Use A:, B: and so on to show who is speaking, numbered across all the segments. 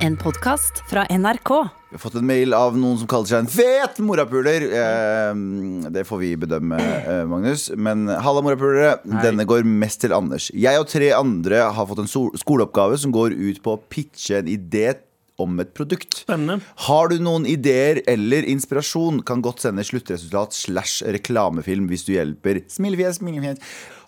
A: En podkast fra NRK.
B: Vi har fått en mail av noen som kaller seg en fet morapuler. Eh, det får vi bedømme, eh, Magnus. Men halla, morapulere. Denne går mest til Anders. Jeg og tre andre har fått en sol- skoleoppgave som går ut på å pitche en idé om et produkt.
C: Spennende.
B: Har du noen ideer eller inspirasjon, kan godt sende sluttresultat slash reklamefilm hvis du hjelper. Smilefjes, smilefjes.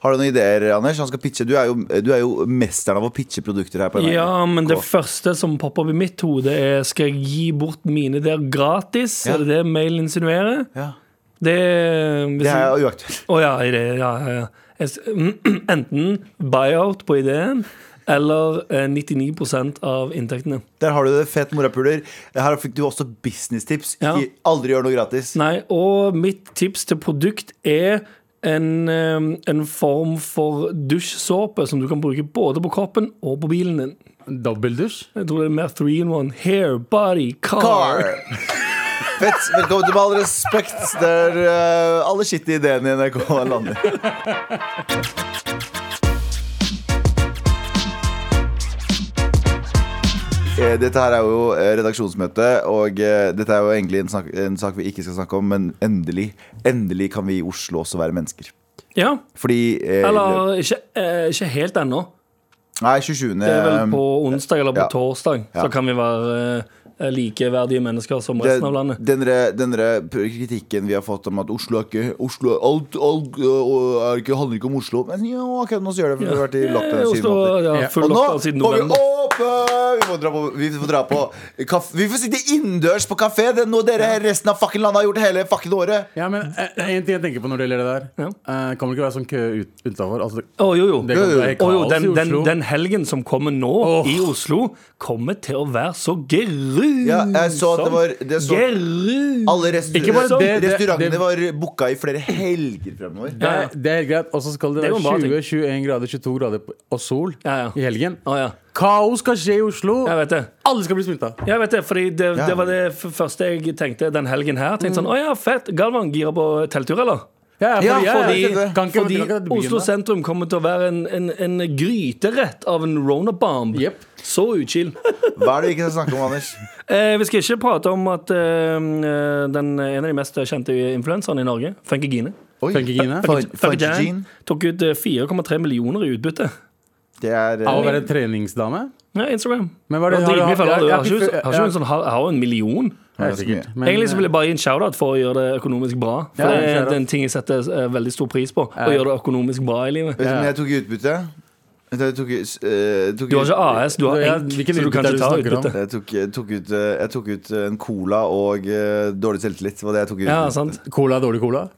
B: Har du noen ideer, Anders? Han skal pitche. Du er jo, du er jo mesteren av å pitche produkter her. på NRK.
C: Ja, men det første som popper opp i mitt hode, er skal jeg gi bort mine der gratis?
B: Ja.
C: Er det det mailen insinuerer?
B: Ja.
C: Det er
B: Det
C: hvis jeg-
B: er jo uaktuelt.
C: Å ja, i det, ja, ja, ja. Jeg s- Enten buyout på ideen, eller eh, 99 av inntektene.
B: Der har du det, fett morapuler. Her fikk du også businesstips.
C: Ja.
B: Ikke- Aldri gjør noe gratis.
C: Nei, og mitt tips til produkt er en, eh, en form for dusjsåpe som du kan bruke både på kroppen og på bilen din.
D: Dobbeldusj?
C: Jeg tror det er mer three in one. Hair, body, car.
B: Car. Fett. Velkommen til Med all respekt, der eh, alle skitne ideene i NRK lander. Eh, Dette her er jo eh, redaksjonsmøte, og eh, dette er jo egentlig en, snak en sak vi ikke skal snakke om, men endelig endelig kan vi i Oslo også være mennesker.
C: Ja,
B: Fordi eh,
C: eller ikke, eh, ikke helt ennå.
B: Nei, 27.
C: Det er vel på onsdag eller
B: Um,
C: på
B: ja.
C: torsdag.
B: Ja.
C: Så kan vi være eh, likeverdige mennesker som resten av landet.
B: Den, dere- den dere kritikken vi har fått om at Oslo er ikke Oslo, er- alt, alt øh, er ikke, handler ikke om Oslo. Men jo, akkurat nå så gjør det, for vi har vært i
C: Eh,
B: lockdown i syv
C: Oslo
B: måneder.
C: ja,
D: Ja.
C: full
B: Og nå
C: lockdown siden
B: må vi
C: november.
B: åpne! Vi får dra på, vi får, dra på kaf- vi får sitte innendørs på kafé. Det er noe dere resten av fucking landet har gjort hele fucking året.
D: Ja, men eh, En ting jeg tenker på når det gjelder det der.
C: Ja.
D: Eh, kommer det ikke være sånn kø ut, utenfor? Altså, det-
C: Å jo, jo.
D: det kommer til å være
C: Å, jo
D: kaos
C: den,
D: i
C: den,
D: Oslo.
C: den helgen som kommer nå
D: Åh.
C: i Oslo, kommer til å være så grusom.
B: Ja, jeg så at det var det så,
C: Gru-
B: Alle restau-
C: Ikke bare
D: det, det-
B: restaurantene
D: det-
B: var booka i flere helger fremover.
D: det,
C: Ja, ja.
D: er, det er helt greit. Og så skal det
C: Det er jo en bra
D: være
C: ting.
D: 20-21 grader, 22 grader på- og sol
C: Ja, ja.
D: i helgen.
C: Å ja.
D: Kaos skal skje i Oslo.
C: Jeg vet det.
D: Alle skal bli smitta.
C: Jeg vet det, fordi det,
B: Ja. Mm.
C: det var det f- første jeg tenkte den helgen her. Tenkte sånn, å ja, fett, Galvan gira på telttur, eller?
D: Ja,
B: Ja,
D: fordi- ja,
B: fordi-
D: ja, ja. Kan
C: Fordi
D: ikke- kan ikke dette begynne?
C: Oslo sentrum kommer til å være en, en, en gryterett av en Rona-bomb.
D: Jep.
C: Så utskill.
B: Hva er det vi ikke skal snakke om, Anders?
C: Eh, vi skal ikke prate om at eh, den en av de mest kjente influenserne i Norge, Funky Gine,
B: Oi,
D: Funkygine.
B: Fun- Funkygine.
C: Jan, tok ut eh, 4,3 millioner i utbytte.
B: Det er
D: Av å
B: eh,
D: være treningsdame?
C: Ja, Instagram.
D: Men hva er det-
C: Og
D: har du-
C: dritmye følgere.
D: jeg- jeg-
C: Jeg har ikke- jeg har ikke
D: ja.
C: en sånn- jeg har jo en million.
D: Ja,
B: det er
D: sikkert.
B: mye.
D: Men,
C: Egentlig så vil
D: eh,
C: jeg bare gi en shout-out for å gjøre det økonomisk bra. For
D: Ja,
C: det er
D: shout-out.
C: den ting jeg setter eh, veldig stor pris på. Å
D: Ja.
C: gjøre det økonomisk bra i livet.
B: Vet du når
D: Ja.
B: jeg tok i utbytte? Vet du, Jeg tok, i- s- eh, jeg tok
C: Du har
B: i-
C: ikke AS, du har
D: Ja,
C: enk,
D: hvilken
C: så du kan
D: utbytte er
C: ikke
D: det
C: ta
D: du snakker om?
C: utbytte.
B: Jeg tok, jeg tok ut, eh, jeg tok ut eh, en cola og eh, dårlig selvtillit. Det var det jeg tok ut.
C: Ja, sant.
D: Cola er dårlig cola?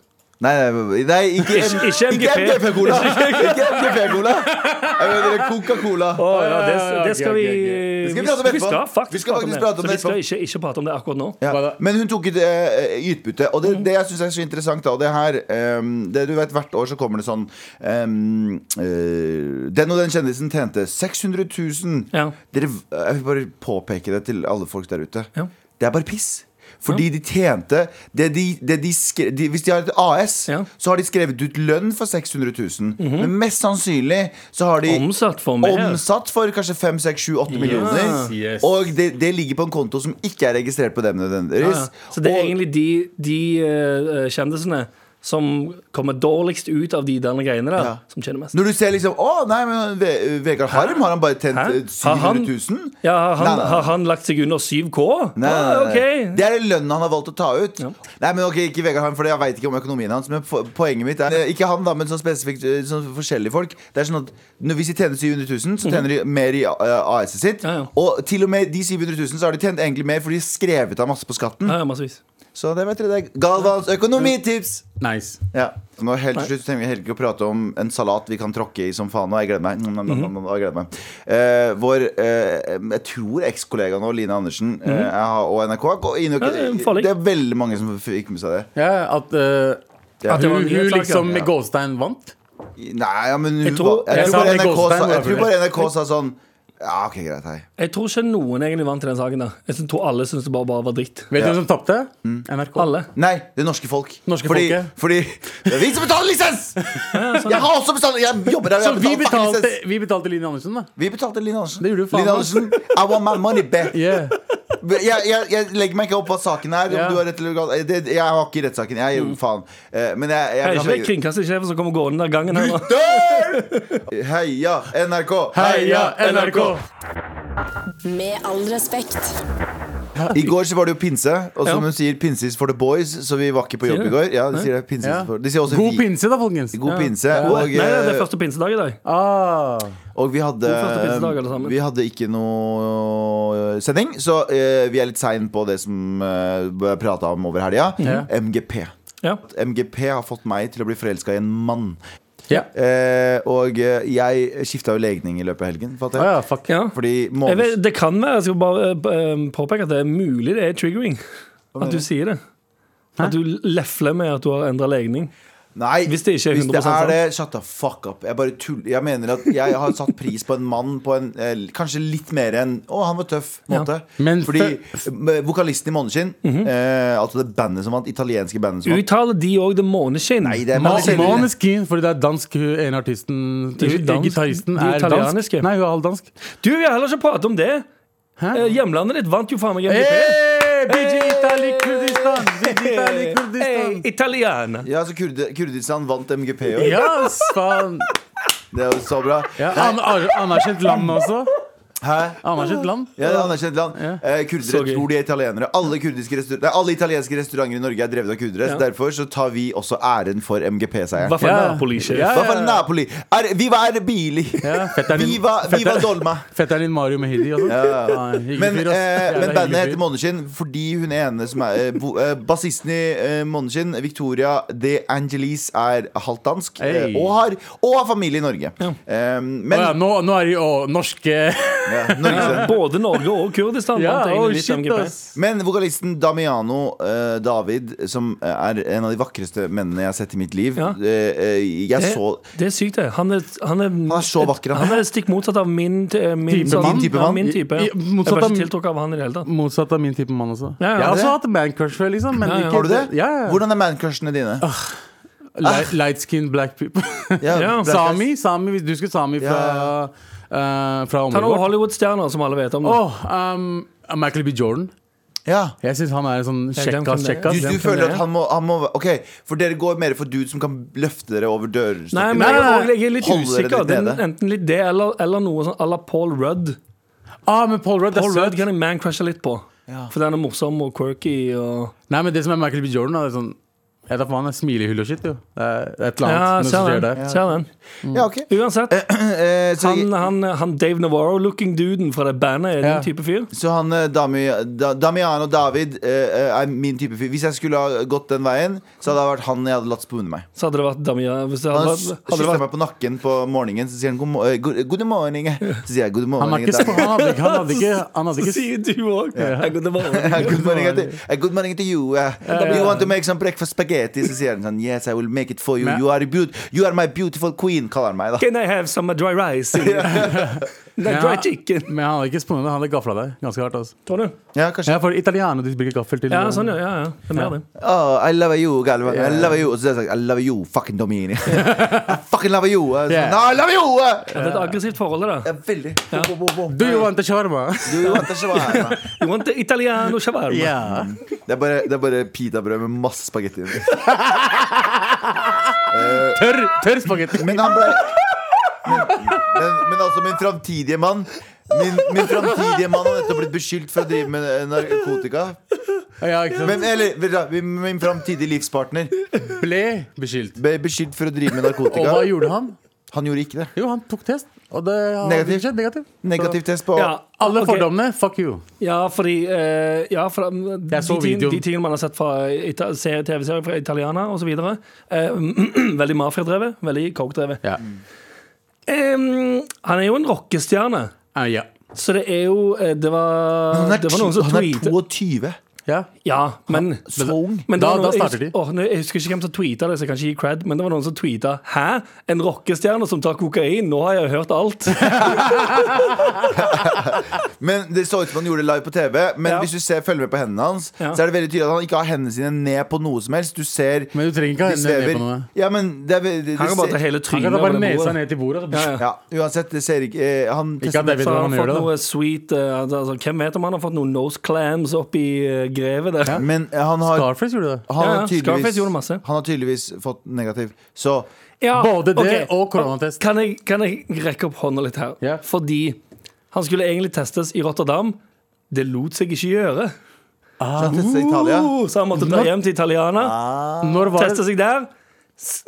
B: Nei, nei, nei ikke,
C: Ikke- ikke
B: ikke
C: MGP.
B: MGP-cola! Ikke MGP-cola! Jeg mener Coca-Cola.
C: Å, ja, det, det skal
D: ok,
C: vi
D: ok,
B: Det skal vi prate om
C: Vi
B: etterpå.
C: skal faktisk,
B: Vi skal faktisk prate om
C: det.
B: det
C: Så vi skal ikke, ikke prate om det akkurat nå.
B: Ja.
D: Hva da?
B: Men hun tok ut eh, i utbytte. Og det, det jeg syns er så interessant, da, og det her ehm, det, Du vet, hvert år så kommer det sånn ehm, eh, Den og den kjendisen tjente 600 000.
C: Ja.
B: Dere, eh, jeg vil bare påpeke det til alle folk der ute.
C: Ja.
B: Det er bare piss. Fordi de tjente det de, det de skre, de, Hvis de har et AS,
C: Ja. Mhm.
B: så har de skrevet ut lønn for 600 000. Men mest sannsynlig så har de
C: Omsatt for mer.
B: omsatt for kanskje 5, 6, 7, 8 millioner.
D: yes.
B: Og det, det ligger på en konto som ikke er registrert på dem
C: Ja,
B: nødvendigvis.
C: ja. Så det er
B: Og-
C: egentlig de, de eh, kjendisene som kommer dårligst ut av de der greiene der,
B: Ja.
C: som tjener mest.
B: Når du ser liksom Å, nei, men Ve Vegard Harm, har han bare tjent
C: Hæ?
B: eh,
C: Har han-
B: 700 000?
C: Ja, har han,
B: Nei, nei, nei.
C: har han lagt seg under 7K?
B: Nei,
C: ah,
B: nei, nei.
C: ok.
B: Det er det lønnen han har valgt å ta ut.
C: Ja.
B: Nei, men ok, Ikke Vegard Harm, for jeg veit ikke om økonomien hans. Men po- poenget mitt er ikke han, da, men sånn spesifikt eh, sånn forskjellige folk. Det er sånn at når Hvis de tjener 700 000, så tjener de mer i eh, AS-et sitt.
C: Mhm. Ja, ja.
B: Og til og med de 700 000 så har de tjent egentlig mer, for de har skrevet av masse på skatten.
C: Ja, ja, massevis.
B: Så det vet dere, det er Galvans økonomitips!
D: Nice.
B: Ja. Nå helt til slutt så trenger vi heller ikke å prate om en salat vi kan tråkke i som faen. Og jeg gleder meg. Mm, mm, mm, mm, jeg gleder meg. Eh, vår eh, jeg tror ekskollega nå, Line Andersen, eh, jeg har- og NRK har gått inn og-
C: Ja, det er en farlig.
B: Det er veldig mange som fikk med seg det.
D: Ja, at eh,
B: Ja.
C: At det var
D: hun,
C: en nyhetssak,
D: hun liksom
C: ja.
D: med gåstein vant?
B: Nei, ja, men hun
C: Jeg tror-
B: var- jeg
D: jeg
B: tror
D: sa
B: bare
D: det i
B: NRK sa-
D: Gåstein,
B: jeg tror
D: var
B: bare NRK sa sånn Ja, ok, greit, hei
C: Jeg tror ikke noen egentlig vant i den saken. der Jeg tror alle syntes det bare, bare var dritt.
D: Vet du hvem som tapte? NRK.
C: Mm. Alle.
B: Nei, det norske folk.
D: Norske
B: fordi,
D: folket.
B: fordi det er vi som betaler lisens! Jeg har også betalt Jeg jobber der. og
D: Så
B: Jeg
D: vi
B: betaler fucking
D: betalte,
B: lisens.
D: vi betalte Line Andersen, da.
B: Vi betalte Line Andersen.
D: Det gjorde du faen
B: Line
D: meg.
B: Andersen, I want my money back.
D: Yeah.
B: Jeg, jeg, jeg legger meg ikke opp hva saken er. om
D: Ja.
B: Du har rett eller galt. Det, jeg har ikke rettssaken. Jeg
C: Mm.
B: gir faen. Eh, Men jeg,
C: Jeg
B: jeg,
C: er ikke vekk kringkastingssjefen som kommer gående den gangen. her da.
B: Dør! Heia NRK!
A: Med all respekt.
B: I går så var det jo pinse, og som
C: Ja.
B: hun sier, pinse is for the boys. Så vi var ikke på
C: Sier
B: jobb
C: de?
B: i går. Ja, de sier det. Pinse
D: Ja.
B: is for De sier også
D: God
B: Altså, vi-
D: pinse, da, folkens.
B: God pinse. Og,
C: Nei, det
B: eh,
C: er første pinsedag i dag.
D: Ah.
B: Og vi hadde,
C: God første pinsedag, alle sammen.
B: vi hadde ikke noe sending, så eh, vi er litt sein på det som eh, ble prata om over helga. MGP.
C: Ja.
B: MGP har fått meg til å bli forelska i en mann.
D: Ja.
B: Eh, og eh, jeg skifta jo legning i løpet av helgen. Fatter.
D: Ah, ja, fuck.
C: ja.
B: Fordi
C: Jeg
B: måneds...
C: vet, det kan være, jeg skal bare eh, eh, påpeke at det er mulig det er triggering. At du sier det. At du lefler med at du har endra legning.
B: Nei,
C: Hvis det ikke er
B: hvis det
C: 100% sant.
B: er det, shut the fuck up. Jeg bare tuller. Jeg mener at jeg har satt pris på en mann på en eh, kanskje litt mer enn Å, han var tøff. måte
D: Men
B: Fordi
D: fø-
B: eh, vokalisten i Måneskinn, eh, altså det bandet som vant, italienske bandet som vant
C: Uttaler de òg det måneskinn?
B: Nei, det er
D: Ma-
B: Maneskin.
D: Maneskin, fordi det er dansk hun ene artisten
C: Det er ikke dansk.
D: Gitaristen
C: De er
D: er dansk.
C: italieniske.
D: Nei, hun er halvdansk.
C: Du, vi har heller ikke pratet om det.
D: Hæ?
C: Eh, Hjemlandet ditt vant jo faen meg MGP.
D: Hey, BG Itali Kurdistan! BG Itali
C: Hey,
D: Kurdistan!
C: italiana.
B: Ja, så Kurdi Kurdistan vant MGP i år.
D: Ja, faen.
B: Det er jo så bra.
D: Ja, an an- anerkjent land også.
B: Hæ?
D: Anerkjent land.
B: Ja, det er anerkjent land. Eh, kurdere
C: Så gøy.
B: tror de er italienere. Alle, kurdiske restau- nei, alle italienske restauranter i Norge er drevet av kurdere. Så
C: Ja.
B: derfor så tar vi også æren for MGP-seieren.
C: Hva for
D: Ja.
C: Napoli-sjef?
D: Ja.
B: Hva for Napoli? Er, viva er Bili!
D: Ja, fetteren din-
B: Viva, viva
D: fetteren-
B: Dolma!
D: Fetteren din Mario Mehidi også. Ja, hyggelig
B: Men,
D: fyr, ass.
B: eh,
D: Jævla
B: men bandet
D: hyggelig
B: heter
D: fyr.
B: Måneskinn fordi hun ene som er eh, bo- eh, Bassisten i eh, Måneskinn, Victoria De Angelis, er halvt dansk eh,
D: Hey.
B: og, har, og har familie i Norge. Eh, men
D: Å ja, nå, nå er de å, norske
B: ja, Norge,
C: Både Norge og Kurdistan vant
D: oh,
C: egentlig litt MGP.
B: Men vokalisten Damiano eh, David, som eh, er en av de vakreste mennene jeg har sett i mitt liv
C: Ja.
B: eh, eh, Jeg
C: Det,
B: så
C: det er sykt, det. Han er, han er,
B: Han er så vakker, han.
C: han er stikk motsatt av min, t- eh, min
D: Type mann?
B: Type
C: Ja,
B: mann?
C: min type.
D: I- i-
C: Jeg ble
D: motsatt
C: ikke
D: av-
C: tiltrukket av han i det hele tatt.
D: Motsatt av min type mann også.
C: Ja, ja.
D: Jeg har
B: Er det?
D: også hatt man-crush før, liksom. Men
C: Ja, ja. Ah,
D: Ikke,
B: Har du det?
D: Ja, ja.
B: Hvordan er mancrushene dine?
D: Light, light-skinned black people.
C: Ja.
B: black guys.
D: Sami, Sami, hvis du husker Sami fra,
B: Ja,
D: eh, fra
C: Ta
D: området
C: noen
D: vårt.
C: Hollywood-stjerner som alle vet om. nå.
D: Åh, um, Michael B. Jordan.
B: Ja.
D: Jeg syns han er en sånn
C: Jeg glemte
D: kjekkas.
B: Du,
C: det.
D: kjekkas.
B: du
C: den
B: føler at
C: jeg.
B: han må, han må Ok, for dere går mer for dude som kan løfte dere over dørstokken?
C: Nei, men
D: Nei,
C: jeg,
D: nei,
C: er- jeg er litt
B: Holder det
C: usikker.
B: litt
C: Det er
B: nede.
C: enten litt det eller, eller noe sånn à la Paul Rudd.
D: Ah, men Paul Rudd det er
C: Paul Rudd
D: søt.
C: kan jeg man-crashe litt på. For den er morsom og quirky. Og
D: Nei, men det som er Michael B. Jordan, er sånn Jeg vet da faen, det er smilehyll og shit, jo. Det er det er et eller
C: ja, sånn.
D: annet som
C: ser
D: skjer
C: den.
D: der.
C: Ser den.
B: Ja, ok
C: Uansett,
B: Eh, så,
C: han, han, han Dave Navarro-looking duden fra det bandet er
D: Ja.
C: din type fyr.
B: så han eh, Dami, da, Damiano David eh, er min type fyr. Hvis jeg skulle ha gått den veien, så hadde det vært han jeg hadde latt spune meg.
C: Så hadde det vært Damian hvis det
B: Han
C: hadde, vært- hadde det
B: kysser
C: vært
B: meg på nakken på morgenen, så sier han god, mo- eh, god, god morgen. Så sier jeg god morgen.
D: Han, er ikke,
B: Dag».
D: han hadde ikke Han hadde ikke, han hadde
C: Så
D: ikke
C: sier du òg. Ja.
B: Good morning, to, uh, good morning to you. Uh, you want to make some breakfast spaghetti? Så sier han sånn Yes, I will make it for you.
D: Men-
B: You are, a beaut you are my beautiful queen, kaller han meg. da
C: Can I have some dry rice? Nei,
D: Ja.
C: dry chicken.
D: Men han hadde ikke spunnet, han hadde gafla deg ganske hardt. Altså.
C: Tror du?
B: Ja, kanskje
D: Ja, for italienere de bruker gaffel til
C: Ja, sånn, ja. ja, ja. Det er mer det.
B: oh, I love you, Galvan. I love you. Og så sier han sånn, I love you, fucking Domini. I fucking love you. Og så,
D: Yeah.
B: No, I love you!
C: Ja, det er et aggressivt forhold, det.
B: Ja,
C: der.
B: veldig. Bo, bo, bo, bo.
D: Do you want a shawarma?
B: Du venter ikke hva her, da.
C: You want the Italiano shawarma?
D: Yeah.
B: Det er bare, det er bare pitabrød med masse spagetti.
D: Tørr, tørr spagetti.
B: Men han ble men, men altså, min framtidige mann Min, min framtidige mann har nettopp blitt beskyldt for å drive med eh, narkotika.
D: Ja, ikke sant?
B: Men, eller, vet du hva, min- min framtidige livspartner
D: ble beskyldt.
B: ble beskyldt for å drive med
D: Og hva
B: narkotika.
D: gjorde han?
B: Han gjorde ikke det.
D: Jo, han tok test. Og det har
B: Negativ.
D: skjedd negativ.
B: Negativ test på
C: Ja,
D: Alle
C: ok.
D: fordommene, fuck you.
C: Ja, fordi eh, ja, for, um, de,
D: så
C: ting,
D: videoen.
C: de tingene man har sett fra ita serie- TV-serier fra Italiana osv. Uh, veldig mafiadrevet, veldig coke-drevet.
D: Ja.
C: Em, han er jo en rockestjerne,
D: Ah, ja.
C: så det er jo eh, Det var,
B: Han er,
C: det var noen som
B: han er
C: tweetet
B: 22.
D: Ja.
C: Ja, men
B: Så ung.
C: men det
D: Da-
C: var noen,
D: da starter
C: jeg,
D: de.
C: åh, nei, jeg husker ikke hvem som tweeta det, så jeg kan ikke gi cred, men det var noen som tweeta 'Hæ? En rockestjerne som tar kokain? Nå har jeg hørt alt.'
B: Men Det så ut som han gjorde det live på TV. Men
C: Ja.
B: hvis du ser, følger med på hendene hans,
C: Ja.
B: Så er det veldig tydelig at han ikke har hendene sine ned på noe som helst. Du ser
D: Men du trenger ikke ha
B: de
D: hendene ned
B: svever.
D: på noe.
B: Ja, men det er, ve- det,
C: Han
B: det
C: kan bare ta
B: ser,
C: hele
D: Han
C: trynet
D: kan da
C: over
D: bare
C: det
D: nesa
C: bordet.
D: ned til bordet.
C: Ja,
D: Så.
C: ja.
B: ja, Uansett, det ser ikke eh, Han
D: Ikke at jeg vet
C: Så
D: hvordan
C: han
D: han
C: har
D: gjør
C: fått
D: det. da.
C: noe sweet eh, altså, Hvem vet om han har fått noen nose clams oppi uh, grevet der?
B: Men eh, han har,
D: Starface gjorde det.
B: han
C: Ja,
B: har
C: ja, Scarface gjorde
B: tydeligvis
C: masse.
B: Han har tydeligvis fått negativ. Så
C: Ja,
D: Både det
C: ok.
D: og koronatest.
C: Kan jeg, kan jeg rekke opp hånda litt her?
D: Ja.
C: Fordi han skulle egentlig testes i Rotterdam. Det lot seg ikke gjøre.
B: så
D: Ah,
B: han testet Italia.
C: Uh, så han måtte dra hjem til Italiana.
D: Når var
C: Teste
D: det?
C: seg der. S-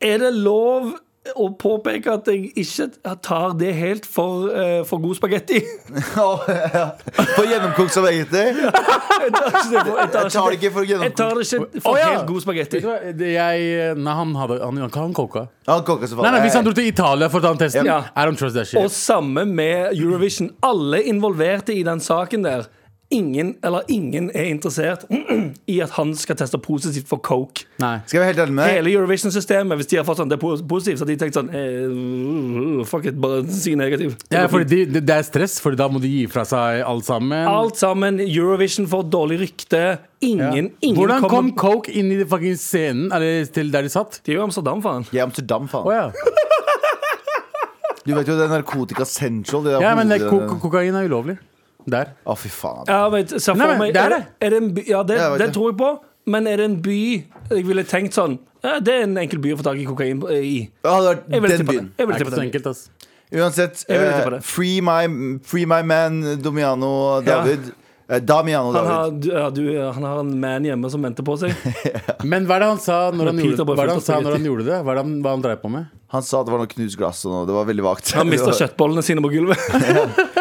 C: Er det lov å påpeke at jeg ikke tar det helt for, eh, for god spagetti?
B: For gjennomkokt som egentlig.
C: Jeg tar ikke det for- jeg tar
B: Jeg tar det
C: ikke
B: ikke for
C: jeg tar
B: gjennomkokt.
C: det ikke for
D: Å, ja.
C: helt god spagetti.
D: Vet du hva, det- Jeg, nei, han hadde Han, han, han koka.
B: Han koka så faen.
D: Nei, nei, Hvis han dro til Italia for å ta den testen,
C: Ja.
D: I don't trust that shit.
C: Og samme med Eurovision. Alle involverte i den saken der. Ingen eller ingen er interessert i at han skal teste positivt for coke.
D: Nei.
B: Skal jeg være helt ærlig med deg?
C: Hele Eurovision-systemet, hvis de har fått sånn det er pos- positivt, så har de tenkt sånn eh, Fuck it, bare si negativ.
D: Ja, fordi de, det- det er stress, Fordi da må de gi fra seg alt sammen.
C: Alt sammen. Eurovision får dårlig rykte.
D: Ja.
C: Ingen, ingen
D: Hvordan
C: kommer
D: kom coke inn i den fucking scenen? Eller til der de satt?
C: De er jo i Amsterdam, faen.
B: Jeg er i Amsterdam, faen.
D: Å ja.
B: Du vet jo det er narkotika central. Det der
D: ja, men det,
B: hodet-
D: ko ko kokain er ulovlig. Der.
B: Å, fy faen.
C: Ja, men, se for
D: Nei, men
C: meg,
D: det
C: er,
D: er det.
C: er det en by, ja, det,
B: Ja, jeg vet
C: det
B: det.
C: tror jeg på. Men er det en by jeg ville tenkt sånn ja, Det er en enkel by å få tak i kokain på- i.
B: Det hadde vært
C: Jeg ville
B: den
C: tippe det.
B: byen.
C: Jeg
D: Det
C: ville
D: er
C: tippe
D: ikke så
C: det.
D: enkelt, ass.
B: Uansett,
C: Jeg vil
B: eh,
C: tippe det.
B: free, my, free my man Domiano
C: Ja.
B: David. Eh, Damiano
C: Han
B: David.
C: har, du, ja, du, han har en man hjemme som venter på seg.
D: Men hva er det han sa når han
C: Peter
D: gjorde,
C: bare
D: hva er det, han
C: fulgte
D: sa
C: oss
D: når han
C: riktig.
D: gjorde det? Hva er det han, hva han dreier på med?
B: Han sa at det var noe knust glass og noe. Det var veldig vagt.
C: Han mister kjøttbollene sine på gulvet.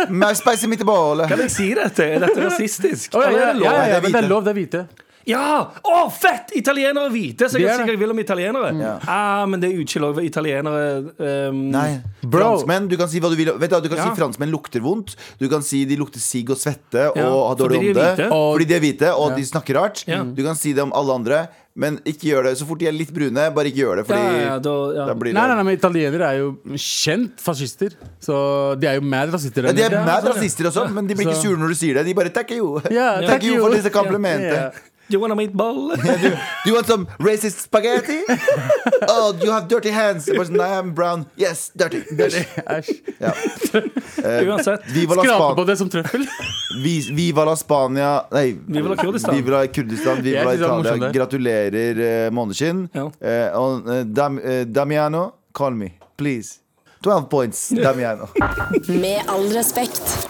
B: Mer spice i mitt bål.
C: Kan jeg si dette? Er dette rasistisk?
D: Å, ja,
C: Eller
D: ja,
C: er det
D: ja,
C: lov?
D: ja,
B: Det er
D: men det
B: hvite.
D: er lov, det er hvite.
C: Ja! Å, fett! Italienere er hvite, så jeg
D: Det
C: kan si
D: er det.
C: hva jeg vil om italienere. Ah, men det er utskillig over italienere. ehm,
B: Nei.
D: Bro.
B: Franskmenn, du kan si hva du vil. Vet du, hva, du kan
C: Ja.
B: si franskmenn lukter vondt. Du kan si de lukter sigg og svette og
C: Ja,
B: har dårlig
C: fordi de er
B: ånde.
C: hvite.
D: Og-
B: Fordi de er hvite, og de snakker rart.
C: Ja.
B: Du kan si det om alle andre, men ikke gjør det. Så fort de er litt brune, bare ikke gjør det, fordi
C: ja, ja, ja, da, ja.
B: da blir det
D: Nei, nei, nei, men italienere er jo kjent fascister. Så de er jo mad rasister.
B: ja, De er
D: Ja,
B: mad
C: sånn, ja.
B: rasister og sånn, men de blir ikke
D: Så-
B: sure når du sier det. De bare 'thank you'.
D: Ja,
B: Thank
D: thank
B: you
D: you.
B: for disse komplimentene.
D: Ja.
C: You wanna meet ball?
B: Do you want some racist spaghetti? oh, you have dirty hands. The person, I am brown. Yes, dirty. dirty.
D: Æsj.
B: Ja.
C: Uansett.
B: Viva, eh, la
D: Skrape på
B: Span
D: det som trøffel.
B: Vi- Viva la Spania Nei,
C: Viva la Kurdistan.
B: Viva la, Kurdistan, Viva
D: Jeg
B: la
D: synes det var morsomt
B: Italia.
D: der.
B: Gratulerer, eh, Måneskinn.
C: Ja.
B: Eh, og, eh, Dam, eh, Damiano, call me, please. 12 points, Damiano.
A: Med all respekt.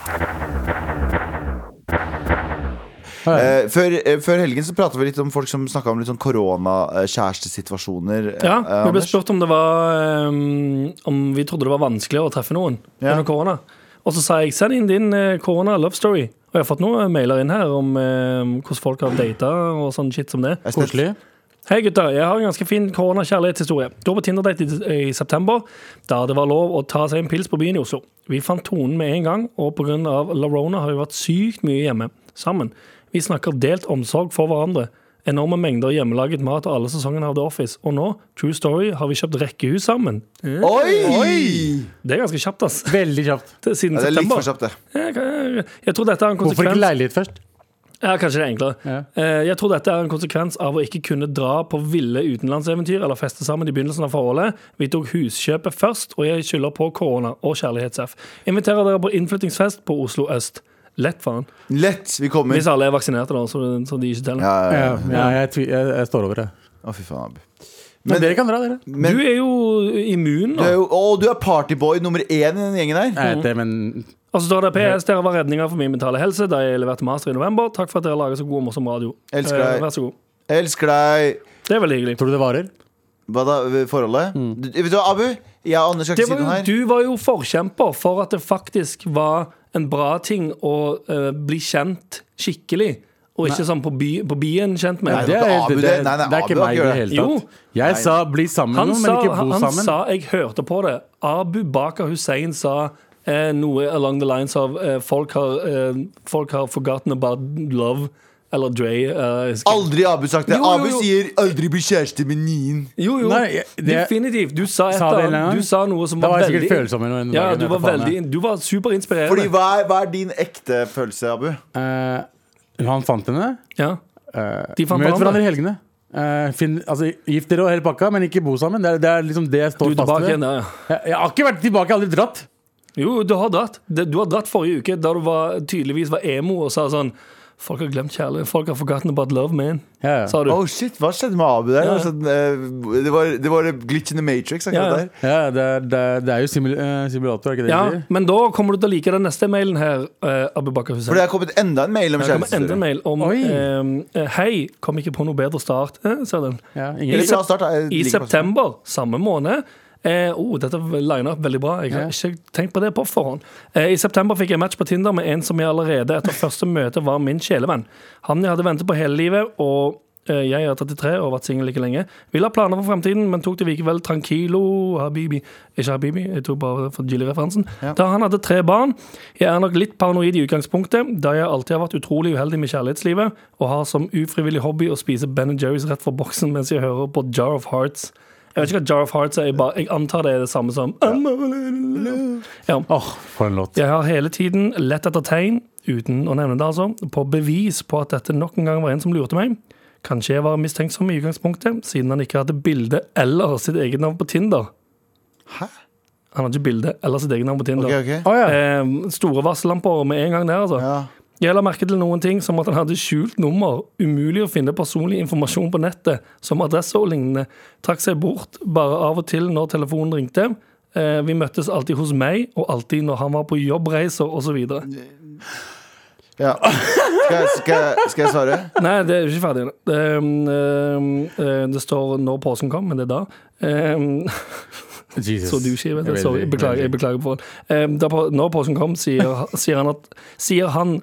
B: Eh, før, eh, før helgen så prata vi litt om folk som snakka om litt sånn koronakjærestesituasjoner.
C: Ja, vi ble
B: eh, Anders.
C: spurt om det var ehm, Om vi trodde det var vanskeligere å treffe noen
B: Ja.
C: under korona. Og så sa jeg send inn din eh, korona-love story. Og jeg har fått noen mailer inn her om eh, hvordan folk har data og sånn shit som det.
B: Jeg er spent.
D: Koselig.
C: Hei gutter, jeg har en ganske fin korona-kjærlighetshistorie. Da på Tinder-date i i september, da det var lov å ta seg en pils på byen i Oslo. Vi fant tonen med en gang, og pga. Larona har vi vært sykt mye hjemme sammen. Vi snakker delt omsorg for hverandre. Enorme mengder hjemmelaget mat og alle sesongene av The Office. Og nå, true story, har vi kjøpt rekkehus sammen. Eh,
B: Oi!
C: Det er ganske kjapt, ass.
D: Veldig kjapt.
C: Det er Siden
B: Ja, det er litt for kjapt,
C: september.
B: det.
C: Jeg, jeg, jeg tror dette er en
D: Hvorfor
C: konsekvens
D: ikke leilighet først?
C: ja, kanskje det er enklere.
D: Ja.
C: Eh, Jeg tror dette er en konsekvens av å ikke kunne dra på ville utenlandseventyr eller feste sammen i begynnelsen av forholdet. Vi tok huskjøpet først, og jeg skylder på korona og kjærlighets-F. Inviterer dere på innflyttingsfest på Oslo øst. Lett, faen.
B: Lett. Vi kommer.
C: Hvis alle er vaksinerte, da, så, så de ikke teller.
B: Ja, ja, ja.
D: Ja, ja jeg, tvi- jeg, jeg står over det.
B: Å, fy faen, Abu.
D: Men,
B: Men-
D: dere kan dra, dere.
B: Men
C: du er jo immun
B: du
C: nå.
B: er jo Å, du er partyboy nummer én i den gjengen her.
D: Jeg vet det, men
C: Og så står Altså, det PS. Dere var redninga for min mentale helse da jeg leverte master i november. Takk for at dere lager så god og morsom radio.
B: Elsker
C: Eh,
B: deg.
C: Vær så god.
B: Elsker deg.
C: Det er veldig hyggelig.
D: tror du det varer?
B: Hva da, forholdet? Du, vet du hva, Abu? Jeg og Anders skal
C: Mm. det
B: ikke si
C: var
B: noe
C: jo,
B: her.
C: du var jo forkjemper for at det faktisk var en bra ting å eh, bli kjent skikkelig, og ikke sånn på, by, på byen kjent med.
B: Nei, det er helt- det- nei, nei,
D: det er ikke
B: Abu har
D: meg i
B: ikke
D: det
B: gjort
D: hele
C: det. Jo.
D: tatt. Jeg sa bli sammen med
C: han
D: noen,
C: sa,
D: men ikke
C: han,
D: bo
C: han
D: sammen.
C: sa, jeg hørte på det, Abu Bakar Hussein sa eh, noe along the lines av eh, folk, har, eh, folk har forgotten about love. Eller Dre. eh, skal-
B: Aldri Abu sagt det.
C: Jo, jo,
B: Abu
C: jo.
B: sier 'aldri bli kjæreste med nien'.
C: Jo, jo.
D: Nei, jeg- det-
C: Definitivt. Du sa, et
D: Sa
C: eller
D: det en
C: annet.
D: gang?
C: du sa noe som
D: Da
C: var
D: var jeg
C: veldig
D: sikkert følsom eller noe den
C: Ja,
D: dagen,
C: du
D: jeg
C: var,
D: vet faen, jeg.
C: veldig, du var superinspirerende.
B: Fordi hva er, hva er din ekte følelse, Abu?
D: Eh, han fant henne.
C: ja.
D: Eh,
C: De fant
D: møt
C: hverandre.
D: hverandre i helgene. Eh, finn, altså, gift dere og hele pakka, men ikke bo sammen. Det er, det er liksom det jeg
C: Du
D: står
C: er
D: fast
C: tilbake igjen
D: ved.
C: der, ja.
D: Jeg, jeg har ikke vært tilbake, jeg har aldri dratt.
C: Jo, du har dratt. Det- Du har dratt forrige uke, da du var, tydeligvis var emo og sa sånn Folk har glemt kjærlighet. Folk har forgotten about love, man.
D: Ja, ja.
C: Sa du.
B: Oh shit, Hva skjedde med Abu der?
C: Ja.
B: Altså, eh, det, var, det var glitch in the matrix. akkurat
C: Ja, ja.
B: der
D: Ja, det, er, det, er, det er jo simul eh, simulator, er ikke det de
C: ja,
D: sier?
C: men da kommer du til å like den neste mailen her, uh, Abu Bakar
B: For
C: Hussein.
B: det er kommet enda en mail om
C: Det kommer enda en
B: kjærester.
C: mail om
D: Oi.
C: eh, Hei, kom ikke på noe bedre start. Eh, ser den.
D: Ja,
B: Eller
D: ingen,
B: fra start, jeg liker
C: I
B: faktisk-
C: september samme måned eh, oh, Dette liner opp veldig bra. Jeg har
D: Ja.
C: ikke tenkt på det på forhånd. Eh, I september fikk jeg match på Tinder med en som jeg allerede etter første møte var min kjælevenn. Han jeg hadde ventet på hele livet, og eh, jeg er 33 og har vært singel like lenge. Ville ha planer for fremtiden, men tok det likevel tranquilo, habibi. Ikke habibi, jeg tok bare for Jilly-referansen. Da han hadde tre barn. Jeg er nok litt paranoid i utgangspunktet, da jeg alltid har vært utrolig uheldig med kjærlighetslivet, og har som ufrivillig hobby å spise Ben Jerry's rett fra boksen mens jeg hører på Jar of Hearts. Jeg vet ikke hva Jar of Hearts er, jeg, bare, jeg antar det er det samme som I'm all alone. ja.
D: Åh, for en låt.
C: Jeg har hele tiden lett etter tegn, uten å nevne det altså, på bevis på at dette nok en gang var en som lurte meg. Kanskje jeg var mistenksom i utgangspunktet, siden han ikke hadde bilde eller sitt eget navn på Tinder.
B: Hæ?
C: Han hadde ikke bilde eller sitt eget navn på Tinder.
B: Ok, ok.
D: Å ja.
C: Eh, store varsellamper med en gang der, altså.
B: Ja.
C: Jeg la merke til noen ting, som at han hadde skjult nummer, umulig å finne personlig informasjon på nettet, som adresse og lignende. Trakk seg bort bare av og til når telefonen ringte. Eh, vi møttes alltid hos meg, og alltid når han var på jobbreiser osv.
B: Ja. Skal, jeg, skal, jeg- skal jeg svare?
C: Nei, det er jo ikke ferdig. Det, eh, eh, det står når påsken kom, men det er da. Eh,
D: Jesus.
C: Så du skriver
D: Jeg
C: det.
D: vet
C: Sorry,
D: ikke,
C: beklager, jeg
D: jeg vet ikke.
C: beklager på um, da på, Når påsken kom, sier, sier, han at, sier han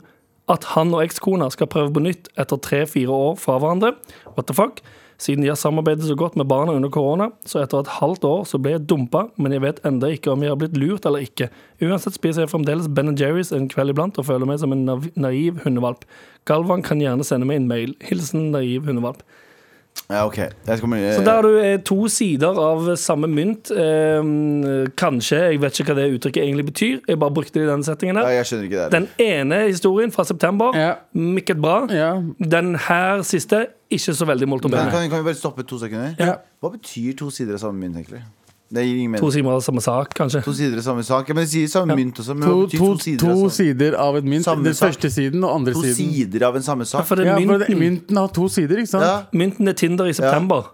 C: at han og ekskona skal prøve på nytt etter tre-fire år fra hverandre. What the fuck? Siden de har samarbeidet så godt med barna under korona, så etter et halvt år så ble jeg dumpa, men jeg vet enda ikke om jeg har blitt lurt eller ikke. Uansett spiser jeg fremdeles Ben Jerry's en kveld iblant og føler meg som en nav- naiv hundevalp. Galvan kan gjerne sende meg en mail. Hilsen naiv hundevalp.
B: Ja, ok. Jeg skal,
C: Så der har du eh, to sider av samme mynt. Eh, kanskje, jeg vet ikke hva det uttrykket egentlig betyr. Jeg bare brukte det i denne settingen
B: Nei,
C: her.
B: jeg skjønner ikke det.
C: Den
B: heller.
C: ene historien fra september,
D: Ja.
C: mykket bra.
D: Ja.
C: Den her siste, ikke så veldig molto
B: Kan,
C: bene.
B: kan vi bare stoppe to sekunder?
D: Ja.
B: Hva betyr to sider av samme mynt, egentlig? Det gir ingen
C: To
B: mening.
C: sider av samme sak, kanskje.
B: To sider av samme sak. Ja, men det sier samme mynt også. Men
D: To,
B: hva betyr to,
D: to, to,
B: sider, av samme,
D: sider av et mynt.
B: Samme
D: Den
B: sak.
D: første siden og andre
B: to
D: siden.
B: sider av en samme
C: Ja,
B: sak?
C: for det,
D: Ja,
C: er
D: for det,
C: mynten,
D: mynten har to sider, ikke sant?
B: Ja,
C: mynten er Tinder i september.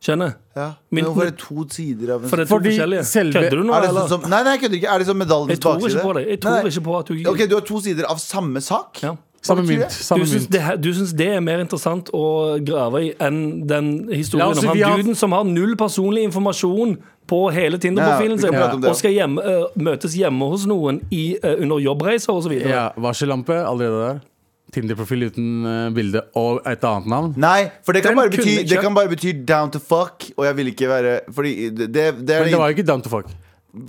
C: Skjønner?
B: ja. Men
C: Mynten-
B: hvorfor er det to sider av en
C: For det er to
D: Fordi
C: forskjellige.
D: selve-
C: Kødder du nå,
B: er det sånn
C: eller?
B: som, Nei, nei, jeg kødder ikke. Er det sånn medaljens
C: Jeg tror ikke på
B: bakside?
C: det. Jeg tror
B: Nei.
C: ikke på at du
B: Ok, du har to sider av samme sak?
C: ja.
D: Samme
B: Hva betyr
D: mynt.
B: det?
D: Samme
C: du syns,
D: mynt.
C: det, her- du syns det er mer interessant å grave i enn den historien
D: La oss si
C: om
D: vi
C: han
D: har-
C: duden som har null personlig informasjon på hele
B: Ja,
C: Tinder-profilen
B: vi kan
C: sin,
B: prate om det, ja.
C: og skal hjemme, eh, møtes hjemme hos noen i, eh, under jobbreiser osv.
D: Ja, Varsellampe allerede der. Tinder-profil uten eh, bilde og et annet navn.
B: Nei, for det kan,
C: Den
B: bare
C: kunne
B: bety,
C: ikke-
B: det kan bare bety down to fuck, og jeg vil ikke være Fordi det, det, det er
D: Men det var jo ikke down to fuck.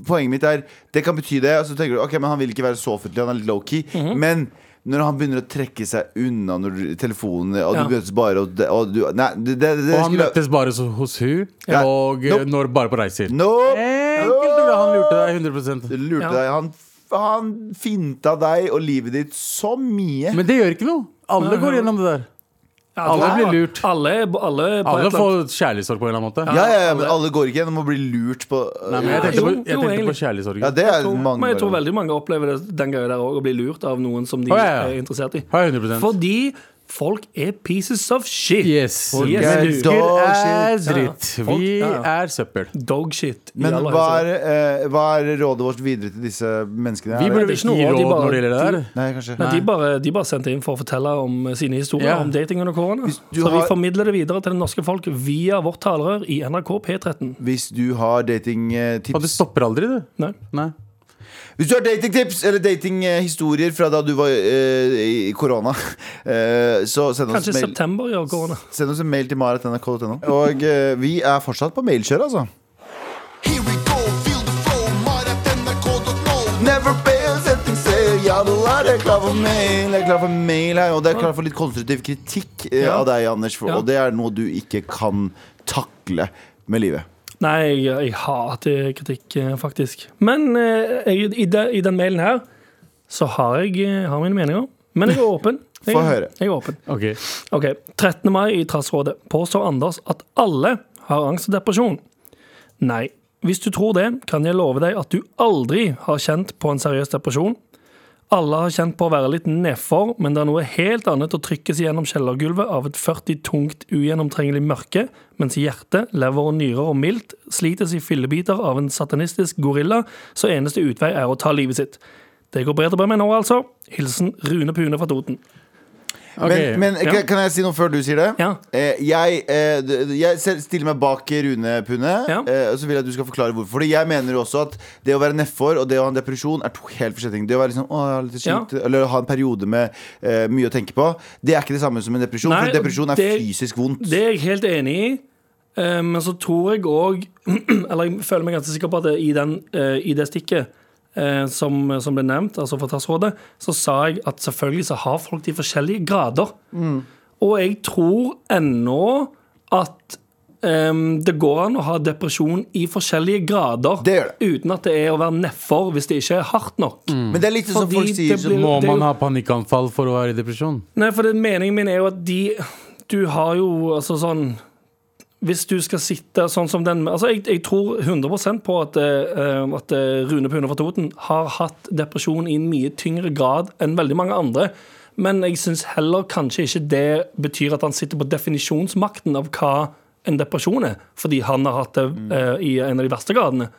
B: Poenget mitt er Det kan bety det, og så tenker du Ok, men han vil ikke være så offentlig, han er litt low-key
C: Mhm.
B: Men når han begynner å trekke seg unna Når du- telefonen, og
C: Ja.
B: du møtes bare og, det- og du, Nei, det, det, det
D: Og han
B: skulle-
D: møttes bare så, hos hun,
B: Ja.
D: og eh,
B: Nope.
D: når bare på reiser.
B: Nope!
D: Enkelt, du, han lurte deg 100
B: Du lurte
C: Ja.
B: deg han, han finta deg og livet ditt så mye
D: Men det gjør ikke noe. Alle går gjennom det der. Alle blir lurt.
C: Altså, Alle, alle, på et
D: Alle
C: eller
D: får kjærlighetssorg på en eller annen måte.
B: Ja, ja, ja, men alle går ikke gjennom å bli lurt på eh,
D: Nei, men jeg tenkte
C: Jo,
D: på,
C: jo,
D: jeg tenkte på
C: egentlig.
D: kjærlighetssorg.
B: Ja, det er
C: annet-
B: mange
C: men jeg tror veldig mange opplever det den gangen der òg, å bli lurt av noen som de
D: Å, ja, ja.
C: er interessert i.
D: Ja, 100%
C: Fordi folk er pieces of shit.
D: Yes.
C: Folk
D: Yes,
C: er
B: du.
D: Mennesker er
B: Dog shit.
D: dritt.
C: Ja. Folk-
D: Vi
C: ja, ja.
D: er søppel.
C: dog shit. i
B: Men
C: aller
B: hva
C: høyeste grad.
B: er, eh, hva er rådet vårt videre til disse menneskene?
D: Vi
B: Er det-
D: burde
C: det er ikke noe
D: ikke gi
C: råd, de
D: råd
C: bare-
D: når det gjelder det der.
B: Nei, kanskje
C: Nei, de bare, de bare sendte inn for å fortelle om eh, sine historier
D: Ja.
C: om dating under korona.
B: du
C: Så vi
B: har-
C: formidler det videre til det norske folk via vårt talerør i NRK P13.
B: Hvis du har datingtips
D: Og det stopper aldri, du.
C: Nei.
D: Nei.
B: Hvis du har datingtips eller datinghistorier fra da du var eh, i korona, eh, så send oss,
C: Kanskje
B: mail,
C: september gjør korona.
B: send oss en mail til maret.nrk.no. Og eh, vi er fortsatt på mailkjøret, altså.
E: Here we go, feel the flow, might at NRK.no
B: Never fails, setting sail, ja, la, det er klar for mail, det er klar for mail her, og det er klar for litt konstruktiv kritikk eh,
C: Ja.
B: av deg, Anders. For,
C: Ja.
B: Og det er noe du ikke kan takle med livet.
C: Nei, jeg, jeg hater kritikk, eh, faktisk. Men eh, jeg, i, de, i den mailen her så har jeg eh, har mine meninger. Men jeg er åpen. Jeg,
B: Få høre.
C: Jeg er åpen.
D: Ok.
C: Ok, 13. mai i Trassrådet påstår Anders at alle har angst og depresjon. Nei. Hvis du tror det, kan jeg love deg at du aldri har kjent på en seriøs depresjon. Alle har kjent på å være litt nedfor, men det er noe helt annet å trykkes gjennom kjellergulvet av et 40 tungt, ugjennomtrengelig mørke, mens hjerte, lever og nyrer og mildt slites i fillebiter av en satanistisk gorilla, så eneste utvei er å ta livet sitt. Det går bedre med meg nå, altså. Hilsen Rune Pune fra Toten.
D: Ok.
B: Men, men
C: ja.
B: kan- kan jeg si noe før du sier det?
C: Ja.
B: Eh, jeg, eh, d- d- jeg selv stiller meg bak Rune Pune,
C: Ja.
B: eh, og så vil jeg at du skal forklare hvorfor. Fordi jeg mener jo også at det å være nedfor og det å ha en depresjon er to helt forskjellige ting. Det å være liksom, å, jeg har litt
C: Ja.
B: skilt, eller ha en periode med eh, mye å tenke på, det er ikke det samme som en depresjon.
C: Nei,
B: for en depresjon er
C: det-
B: fysisk vondt.
C: Det er jeg helt enig i. eh, Men så tror jeg òg Eller jeg føler meg ganske sikker på at det- i, den, eh, i det stikket eh, som, som ble nevnt, altså fra Tassrådet, så sa jeg at selvfølgelig så har folk de forskjellige grader.
B: Mm.
C: Og jeg tror ennå at eh, det går an å ha depresjon i forskjellige grader.
B: Det gjør
C: Uten at det er å være nedfor hvis det ikke er hardt nok.
B: Men det er litt sånn som
C: Fordi
B: folk sier
C: det
B: som-
C: blir-
D: Må
C: det er jo-
D: man ha panikkanfall for å være i depresjon?
C: Nei, for det, meningen min er jo at de Du har jo altså sånn Hvis du skal sitte sånn som den Altså, jeg, jeg tror 100 på at, eh, at eh, Rune Pune fra Toten har hatt depresjon i en mye tyngre grad enn veldig mange andre. Men jeg syns heller kanskje ikke det betyr at han sitter på definisjonsmakten av hva en depresjon er, fordi han har hatt det
B: Mm.
C: eh, i en av de verste gradene.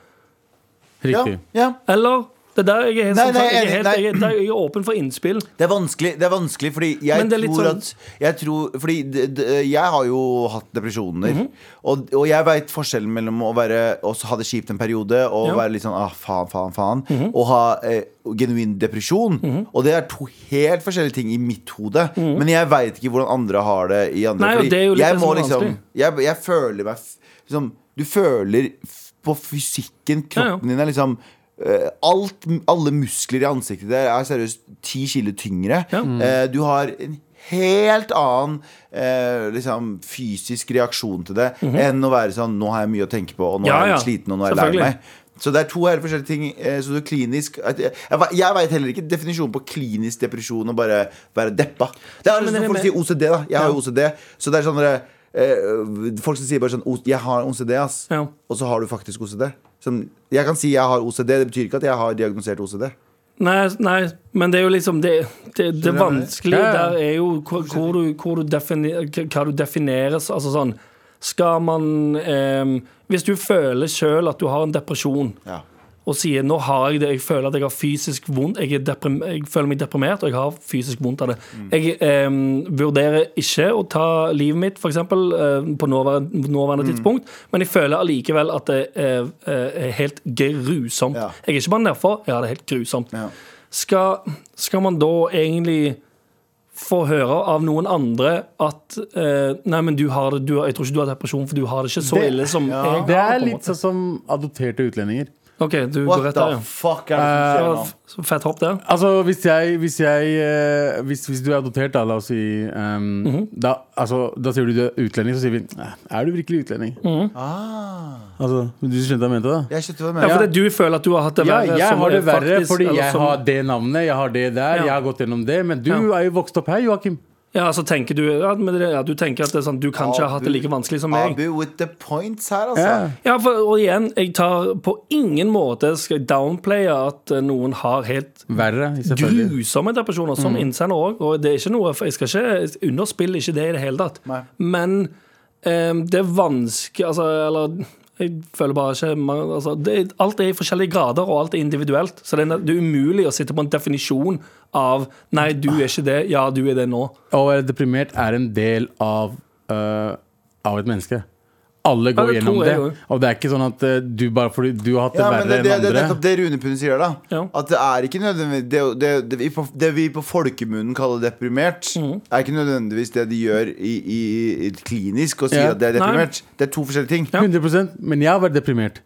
B: ja,
D: Riktig.
B: ja.
C: Eller? Det er der jeg er helt,
B: Nei, nei,
C: jeg er
B: enig,
C: helt,
B: nei.
C: jeg er, der jeg er åpen for innspill.
B: Det er vanskelig, det er vanskelig fordi jeg
C: Men det er litt
B: tror
C: sånn-
B: at jeg, tror, fordi d, d, jeg har jo hatt depresjoner.
C: Mhm.
B: og, og jeg veit forskjellen mellom å være Og så ha det kjipt en periode og
C: Ja. Mhm.
B: være litt sånn ah, faen, faen, faen. Og ha eh, genuin depresjon. Og det er to helt forskjellige ting i mitt hode. Men jeg veit ikke hvordan andre har det i andre.
C: Mhm. Nei, og
B: fordi
C: det er jo litt
B: jeg
C: det som
B: må
C: er
B: liksom
C: vanskelig.
B: jeg, jeg føler meg f- liksom, Du føler f- på fysikken,
C: Ja, ja.
B: kroppen din er liksom eh, Alt, alle muskler i ansiktet der er seriøst ti kilo tyngre.
C: Ja. Mm.
B: Eh, du har en helt annen eh, liksom, fysisk reaksjon til det enn å være sånn Nå har jeg mye å tenke på, og nå
C: Mhm. Ja,
B: er jeg
C: ja.
B: litt sliten, og nå er jeg lei
C: Selvfølgelig.
B: meg. Så det er to helt forskjellige ting. eh, Så du er klinisk at- Jeg, jeg, ve- jeg veit heller ikke definisjonen på klinisk depresjon og bare være deppa. Det er
C: men
B: liksom
C: det er
B: som folk
C: med-
B: sier OCD, da. Jeg har jo OCD. Så det er sånn dere, eh, Folk som sier bare sånn "O- Jeg har OCD, ass.
C: Ja.
B: Og så har du faktisk OCD. Sånn, jeg kan si jeg har OCD, det betyr ikke at jeg har diagnosert OCD.
C: Nei, nei, men det er jo liksom Det, det, det
B: du hva jeg mener?
C: vanskelige
D: Ja, ja.
C: der er jo hvor, hvor, du, hvor du definer, hva du defineres Altså sånn Skal man eh, Hvis du føler sjøl at du har en depresjon,
B: Ja.
C: og sier nå har jeg det, jeg føler at jeg har fysisk vondt, jeg, er deprim, jeg føler meg deprimert, og jeg har fysisk vondt av det. Jeg eh, vurderer ikke å ta livet mitt, f.eks., eh, på nåværende, nåværende tidspunkt, men jeg føler allikevel at det er, eh, er helt grusomt.
B: Ja.
C: Jeg er ikke bare nedfor, jeg har det helt grusomt.
B: Ja.
C: Skal, skal man da egentlig få høre av noen andre at eh, Nei, men du har det, du, har- jeg tror ikke du har depresjon, for du har det ikke så
D: Det-
C: ille som
B: ja.
C: jeg har.
D: Det
C: på
D: er
C: en
D: litt
C: måte.
D: sånn som adopterte utlendinger.
C: OK, du går
B: What
C: rett der,
B: the
C: ja. Eh,
B: fuck er det som skjer nå?
C: Så- så Fett hopp der.
D: Altså, hvis jeg, hvis, jeg eh, hvis, hvis du er adoptert, da, la oss si ehm, da, altså, da sier du du er utlending, så sier vi "Nei, Er du virkelig utlending?
B: Ah,
D: Altså, Du skjønte hva jeg mente? da?
B: jeg skjønte hva du
C: Ja,
B: mener.
C: for det du føler at du har hatt det
D: Ja,
C: verre.
D: jeg
C: som
D: har det
C: er
D: verre
C: faktisk-
D: fordi
C: eller
D: jeg
C: som-
D: har det navnet, jeg har det der,
C: Ja.
D: jeg har gått gjennom det. Men du
C: Ja.
D: er jo vokst opp her, Joakim.
C: Ja, så tenker du ja, men det, ja, Du tenker at det er sånn, du kan ikke ha hatt det like vanskelig som meg.
B: Abu with the points her, altså.
D: Ja.
C: Ja, for, og igjen, jeg tar på ingen måte skal jeg downplaye at eh, noen har helt
D: Verre, selvfølgelig. Mm.
C: grusomme depresjoner, som innsender òg. Og det er ikke noe, for jeg skal ikke underspille ikke det i det hele tatt.
B: Nei.
C: Men eh, det er vanskelig Altså, eller jeg føler bare ikke man- altså, det, er- Alt er i forskjellige grader, og alt er individuelt. Så det er, det er umulig å sitte på en definisjon av Nei, du er ikke det. Ja, du er det nå.
D: Å være deprimert er en del av, øh, av et menneske. Alle går
C: det
D: gjennom
C: tror jeg
D: det.
C: jo.
D: Og det er ikke sånn at øh, du bare fordi du har hatt det
B: Ja, men
D: verre
B: det, det,
D: enn
B: det er
D: andre.
B: nettopp det Rune Pund sier, da.
C: Ja.
B: At det er ikke nødvendigvis Det, det, det, vi, på, det vi på folkemunnen kaller deprimert, er ikke nødvendigvis det de gjør i, i, i klinisk og sier
D: Ja.
B: at det er
C: Nei.
B: deprimert. Det er to forskjellige ting. Mm.
D: 100 Men jeg har vært deprimert.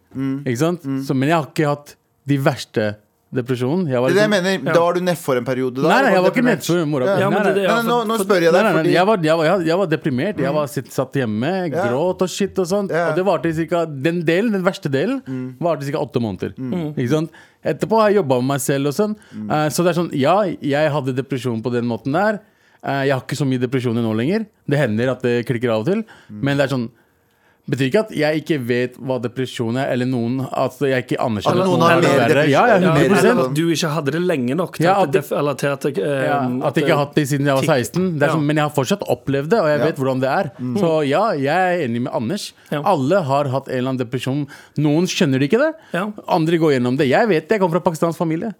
D: Ikke sant? Så, men jeg har ikke hatt de verste Depresjon? Jeg var
B: Det er det jeg
D: liksom-
B: mener. Da var du nedfor en periode. Da,
D: Nei,
B: Var
D: nei, jeg
B: du
D: var ikke
B: deprimert?
D: nedfor. Mora.
B: Ja.
C: Ja, men det er det,
B: Nei,
C: ja,
B: nei, nå,
C: for-
B: nå
C: for-
B: spør jeg
D: Nei,
B: deg,
D: nei, nei.
B: fordi
D: Jeg, var, jeg, var, jeg, jeg var deprimert. Jeg var sitt, satt hjemme,
B: Ja.
D: gråt og shit og sånt.
B: Ja. Mm.
D: Og det varte i cirka, den delen, den verste delen, varte i ca. åtte måneder. Ikke sant? Etterpå har jeg jobba med meg selv og sånn.
B: Mm.
D: Eh, så det er sånn, ja, jeg hadde depresjon på den måten der. Eh, jeg har ikke så mye depresjoner nå lenger. Det hender at det klikker av og til.
B: Mm.
D: Men det er sånn Betyr ikke at jeg ikke vet hva depresjon er, eller noen at jeg ikke anerkjenner
B: At noen
D: er
B: har mer
D: verre.
B: depresjon.
D: Ja,
C: Ja,
D: ja, 100
C: eller at du ikke hadde det lenge nok til
D: Ja,
C: at, det, def- eller til at, eh,
D: ja, At jeg ikke har hatt det siden jeg var
C: Tikk.
D: 16. Det er
C: Ja.
D: sånn, men jeg har fortsatt opplevd det, og jeg
B: Ja.
D: vet hvordan det er. Så ja, jeg er enig med Anders.
C: Ja.
D: Alle har hatt en eller annen depresjon. Noen skjønner ikke det,
C: Ja.
D: andre går gjennom det. Jeg vet det, jeg kommer fra pakistansk familie.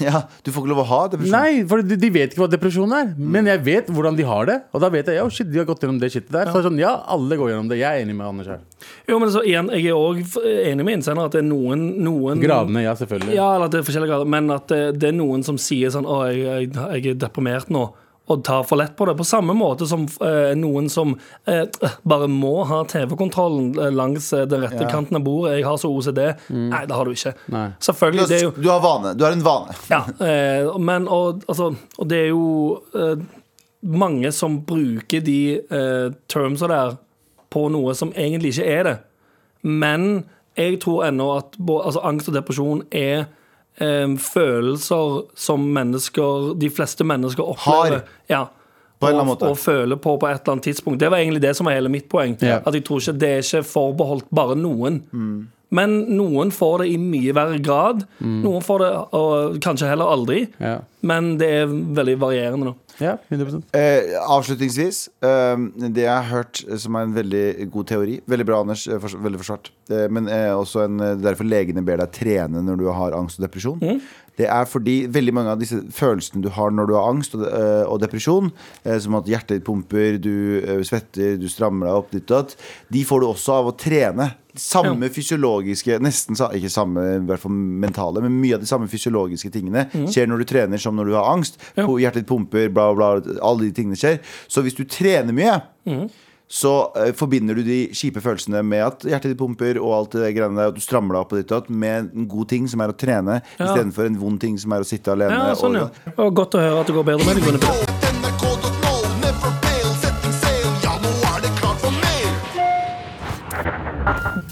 B: ja, Du får ikke lov å ha depresjon.
D: Nei, for de, de vet ikke hva depresjon er, men jeg vet hvordan de har det. Og da vet jeg ja, shit, de har gått gjennom det shitet der. Så det er sånn, ja, alle går gjennom det. Jeg er enig med Anders her.
C: Jo, men så igjen, jeg er òg enig med innsender at det er noen, noen
D: Gravene, ja, selvfølgelig.
C: Mm. Ja, eller at det er forskjellige grader, men at det, det er noen som sier sånn Å, jeg, jeg, jeg er deprimert nå. Og tar for lett på det. På samme måte som eh, noen som eh, bare må ha TV-kontrollen eh, langs eh, den rette kanten av bordet. 'Jeg har så OCD.' Nei, det har du ikke.
D: Mm. Nei.
B: Du,
C: Selvfølgelig. Det er jo
B: har, du har vane. Du har en vane.
C: ja, eh, men og, altså, og det er jo eh, mange som bruker de eh, termsa der på noe som egentlig ikke er det. Men jeg tror ennå at bå- altså, angst og depresjon er eh, følelser som mennesker, de fleste mennesker opplever.
B: Har.
C: Ja.
B: På en eller annen
C: og,
B: måte.
C: og føler på på et eller annet tidspunkt. Det var egentlig det som var hele mitt poeng.
D: Ja.
C: At jeg tror ikke det er ikke forbeholdt bare noen.
B: Mm.
C: Men noen får det i mye verre grad. Noen får det og kanskje heller aldri.
D: Mm. Ja.
C: Men det er veldig varierende. Da.
D: ja 100
B: Eh, avslutningsvis, eh, det jeg har hørt eh, som er en veldig god teori Veldig bra, Anders. eh, fors- veldig forsvart. Eh, men eh, også en, eh, derfor legene ber deg trene når du har angst og depresjon. Det er fordi veldig mange av disse følelsene du har når du har angst og, eh, og depresjon, eh, som at hjertet ditt pumper, du eh, svetter, du strammer deg opp, ditt og datt, de får du også av å trene. Samme fysiologiske Nesten sa- ikke samme, i hvert fall mentale, men mye av de samme fysiologiske tingene skjer når du trener som når du har angst.
C: Mhm. Ja.
B: Po- Hjertet ditt pumper, bla, bla, bla. Alle de tingene skjer. Så hvis du trener mye,
C: Mhm.
B: så eh, forbinder du de kjipe følelsene med at hjertet ditt pumper og alt det greiene der, at du strammer deg opp og ditt og datt, med en god ting som er å trene,
C: Ja.
B: istedenfor en vond ting som er å sitte alene.
C: Ja, sånn, ja.
B: og,
C: Og godt å høre at det går bedre med deg. Gunnhild.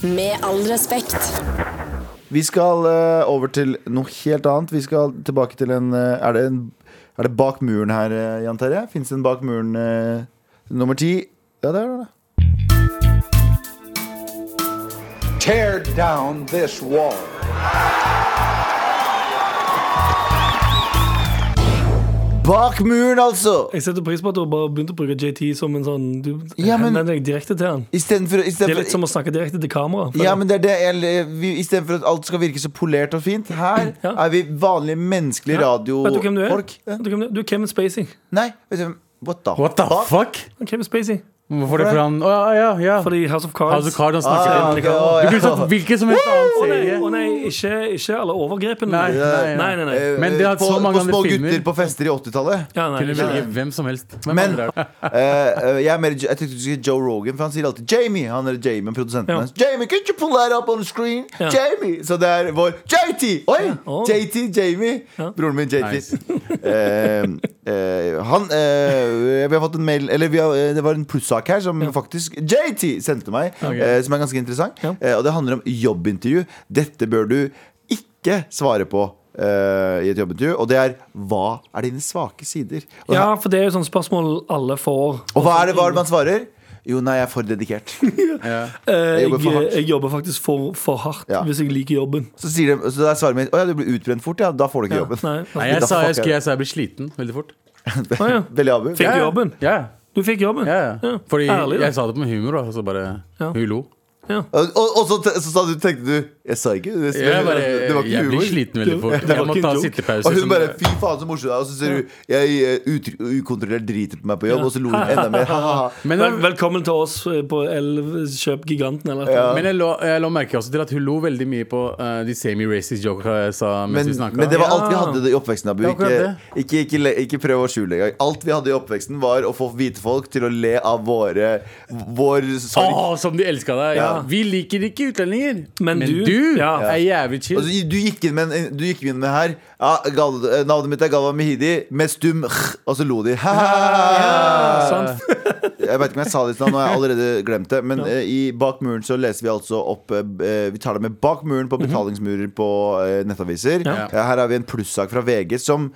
A: Med all respekt.
B: Vi skal eh, over til noe helt annet. Vi skal tilbake til en eh, Er det, en, er det bak muren her, eh, Jan Terje? Fins det en bak muren eh, nummer ti? Ja, det er det.
E: Tear down this wall.
B: Bak muren, altså!
C: Jeg setter pris på at du bare begynte å bruke JT som en sånn Du
B: Ja, men-
C: henvender deg direkte til han.
B: Istedenfor
C: Det er litt som å snakke direkte til kamera. føler
B: ja,
C: jeg.
B: men det er det jeg- vi- Istedenfor at alt skal virke så polert og fint. Her
C: Ja.
B: er vi vanlige menneskelige
C: Vet du hvem du er?
B: radiofolk. Eh,
C: Vet du, hvem du, er? du er Kevin Spacey.
B: Nei, vet du hvem What the,
D: What the fuck?
C: Kevin Spacey
D: Hvorfor det? For han Å ja, ja. ja.
C: Fordi House of Cards.
D: House of Cards, han snakker
B: Ah,
D: til
B: ok, å,
D: Du sånn
B: ja.
D: kunne sagt hvilken som helst annen
C: Å nei,
D: serie.
C: å nei ikke, ikke alle overgrepene.
D: Nei, nei,
C: nei, nei, nei.
B: Eh,
D: Men det har
B: på,
D: så mange
B: på
D: andre
B: små
D: filmer.
B: gutter på fester i 80-tallet.
C: Ja, nei,
D: Kunne
C: ikke.
D: velge hvem som helst. Hvem
B: Men
D: andre er det?
B: eh, eh, jeg, er mer, jeg tenkte du skulle si Joe Rogan, for han sier alltid Jamie. Han er Jamie, produsenten
C: Ja.
B: hans. Jamie, could you pull that up on the screen?
C: Ja.
B: Jamie! Så det er vår JT! Oi!
C: Å.
B: JT, Jamie.
C: Ja.
B: Broren min, JT.
D: Nice.
B: Eh, eh, han eh, Vi har fått en mail Eller vi har, eh, det var en plussak her som faktisk JT sendte meg,
D: Ok.
B: eh, som er ganske interessant.
C: Ja.
B: Eh, og det handler om jobbintervju. Dette bør du ikke svare på. eh, I et jobbintervju, og det er hva er dine svake sider? Og
C: Ja, for det er jo sånne spørsmål alle får.
B: og hva er det, hva er det man svarer? Jo, nei, jeg er for dedikert.
C: Eh,
B: Jeg jobber for
C: jeg,
B: hardt.
C: jeg jobber faktisk for, for hardt
B: Ja.
C: hvis jeg liker jobben.
B: Så, sier de, så da er svaret mitt Å ja, du blir utbrent fort, ja. Da får du ikke
C: Ja,
B: jobben.
C: nei.
D: Nei,
B: Da
D: jeg sa
B: fucker
D: jeg,
B: jeg.
D: skulle, jeg, sa jeg blir sliten veldig fort.
C: Å, ja.
B: Veldig abu.
C: Fikk du jobben?
D: Ja,
C: Du fikk jobben?
D: ja, ja. Fordi
C: Ærlig, da.
D: jeg sa det med humor, og så bare
C: Ja.
D: Hun lo.
B: Og, og, og så, te- så sa du, tenkte du Jeg sa ikke det.
D: Jeg, bare,
B: det var ikke
D: jeg blir
B: humor.
D: sliten veldig fort.
C: var
D: Jeg må
C: ikke en
D: ta
C: joke.
D: sittepause.
B: Og hun
D: som-
B: bare fy faen så morsom du er. Og så ser du jeg eh, ut- ukontrollert driter på meg på jobb, og så lo hun enda mer. Ha, ha, ha.
D: men,
C: Vel, velkommen til oss eh, på Elv Kjøp Giganten, eller et eller annet.
D: men jeg, lå, jeg lå merke også til at hun lo veldig mye på eh, de semi-racist jokene jeg sa mens
B: Men,
D: vi snakka.
B: men det var alt vi
C: Ja.
B: hadde i oppveksten, Abu.
D: Det er
B: Ikke,
D: akkurat
B: ikke, ikke, le- ikke prøv å skjule engang. Alt vi hadde i oppveksten, var å få hvite folk til å le av våre vår sorg.
D: Åh, som de elska deg!
B: Ja.
D: Vi liker ikke utlendinger,
C: Men
D: men,
C: du-
D: du, du
C: Ja.
D: er jævlig
B: Og
D: chill.
B: så Altså, du gikk inn med, en- du gikk inn med her ja, Gal, eh, Navnet mitt er Galvan Mehidi Med stum «h», Og så lo de Ha, ha, ha, ha.
C: Sant?
B: Jeg vet ikke om jeg sa det i stad, nå har jeg allerede glemt det. Men eh, i Bak muren så leser vi altså opp eh, Vi tar det med bak muren på betalingsmurer på eh, nettaviser.
C: Mhm. Ja.
B: Eh, her har vi en plussak fra VG som